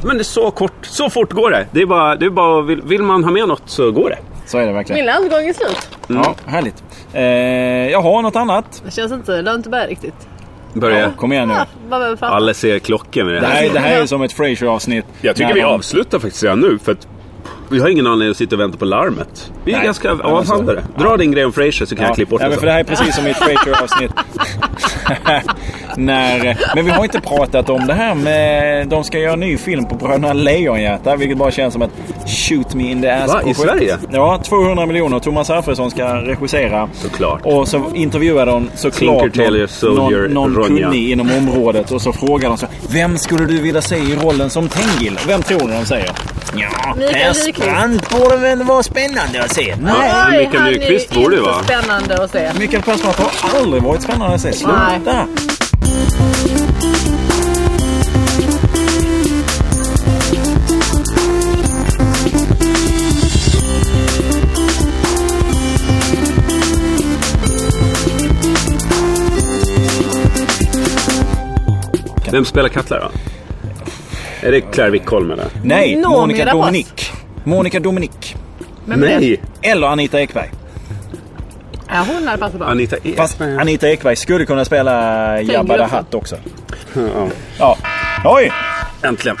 [SPEAKER 1] Men det är så kort, så fort går det. Det är bara, det är bara vill, vill man ha med något så går det. Mm.
[SPEAKER 3] Så är det verkligen.
[SPEAKER 2] Min landgång är slut.
[SPEAKER 3] Ja, härligt. Eh, jaha, något annat?
[SPEAKER 2] Det känns inte, det har inte börjat riktigt.
[SPEAKER 1] Börja.
[SPEAKER 3] Kom igen nu.
[SPEAKER 2] Ja, vad behöver fan.
[SPEAKER 1] Alla ser klockan med det
[SPEAKER 3] Det
[SPEAKER 1] här.
[SPEAKER 3] här, det här är som ett Frasier-avsnitt.
[SPEAKER 1] Jag tycker
[SPEAKER 3] När
[SPEAKER 1] vi
[SPEAKER 3] man-
[SPEAKER 1] avslutar faktiskt redan nu för att vi har ingen anledning att sitta och vänta på larmet. Vi är
[SPEAKER 3] Nej,
[SPEAKER 1] ganska
[SPEAKER 3] men alltså-
[SPEAKER 1] avhandlade. Dra din grej om Frasier så kan jag klippa bort
[SPEAKER 3] nej, men
[SPEAKER 1] det sen.
[SPEAKER 3] för det här är
[SPEAKER 1] *laughs*
[SPEAKER 3] precis som i ett Frasier-avsnitt. När, eh, men vi har inte pratat om det här med... De ska göra en ny film på Bröderna Lejonhjärta, vilket bara känns som ett shoot me in the ass
[SPEAKER 1] Va? I
[SPEAKER 3] projekt.
[SPEAKER 1] Sverige?
[SPEAKER 3] Ja, 200 miljoner. Thomas Alfredsson ska regissera.
[SPEAKER 1] Såklart.
[SPEAKER 3] Och så intervjuade de såklart
[SPEAKER 1] Tinker, Tailor, Soldier,
[SPEAKER 3] någon, någon
[SPEAKER 1] Ronja.
[SPEAKER 3] kunnig inom området och så frågade de så Vem skulle du vilja se i rollen som Tengil? Vem tror du de säger? Ja,
[SPEAKER 2] Mikael
[SPEAKER 3] Per
[SPEAKER 2] Nyqvist.
[SPEAKER 3] Strand borde väl vara spännande att se? Nej.
[SPEAKER 1] Ja,
[SPEAKER 2] Oj,
[SPEAKER 1] Mikael
[SPEAKER 2] han är
[SPEAKER 1] Nyqvist borde det
[SPEAKER 2] inte
[SPEAKER 1] vara.
[SPEAKER 2] spännande att se.
[SPEAKER 3] Mikael Persbrandt har aldrig varit spännande att se. Sluta!
[SPEAKER 1] Vem spelar Katla då? Är det Claire Wickholm eller?
[SPEAKER 3] Nej,
[SPEAKER 2] Noomi
[SPEAKER 3] Monica
[SPEAKER 2] Rapace.
[SPEAKER 3] Dominik. Monica Dominik.
[SPEAKER 2] Men med det-
[SPEAKER 3] Eller Anita Ekberg.
[SPEAKER 2] Ja, hon hade passat bra.
[SPEAKER 1] Anita Ekberg.
[SPEAKER 3] Fast Anita Ekberg skulle kunna spela Jabba the
[SPEAKER 2] också.
[SPEAKER 3] Hutt också. Ja. Oj!
[SPEAKER 1] Äntligen.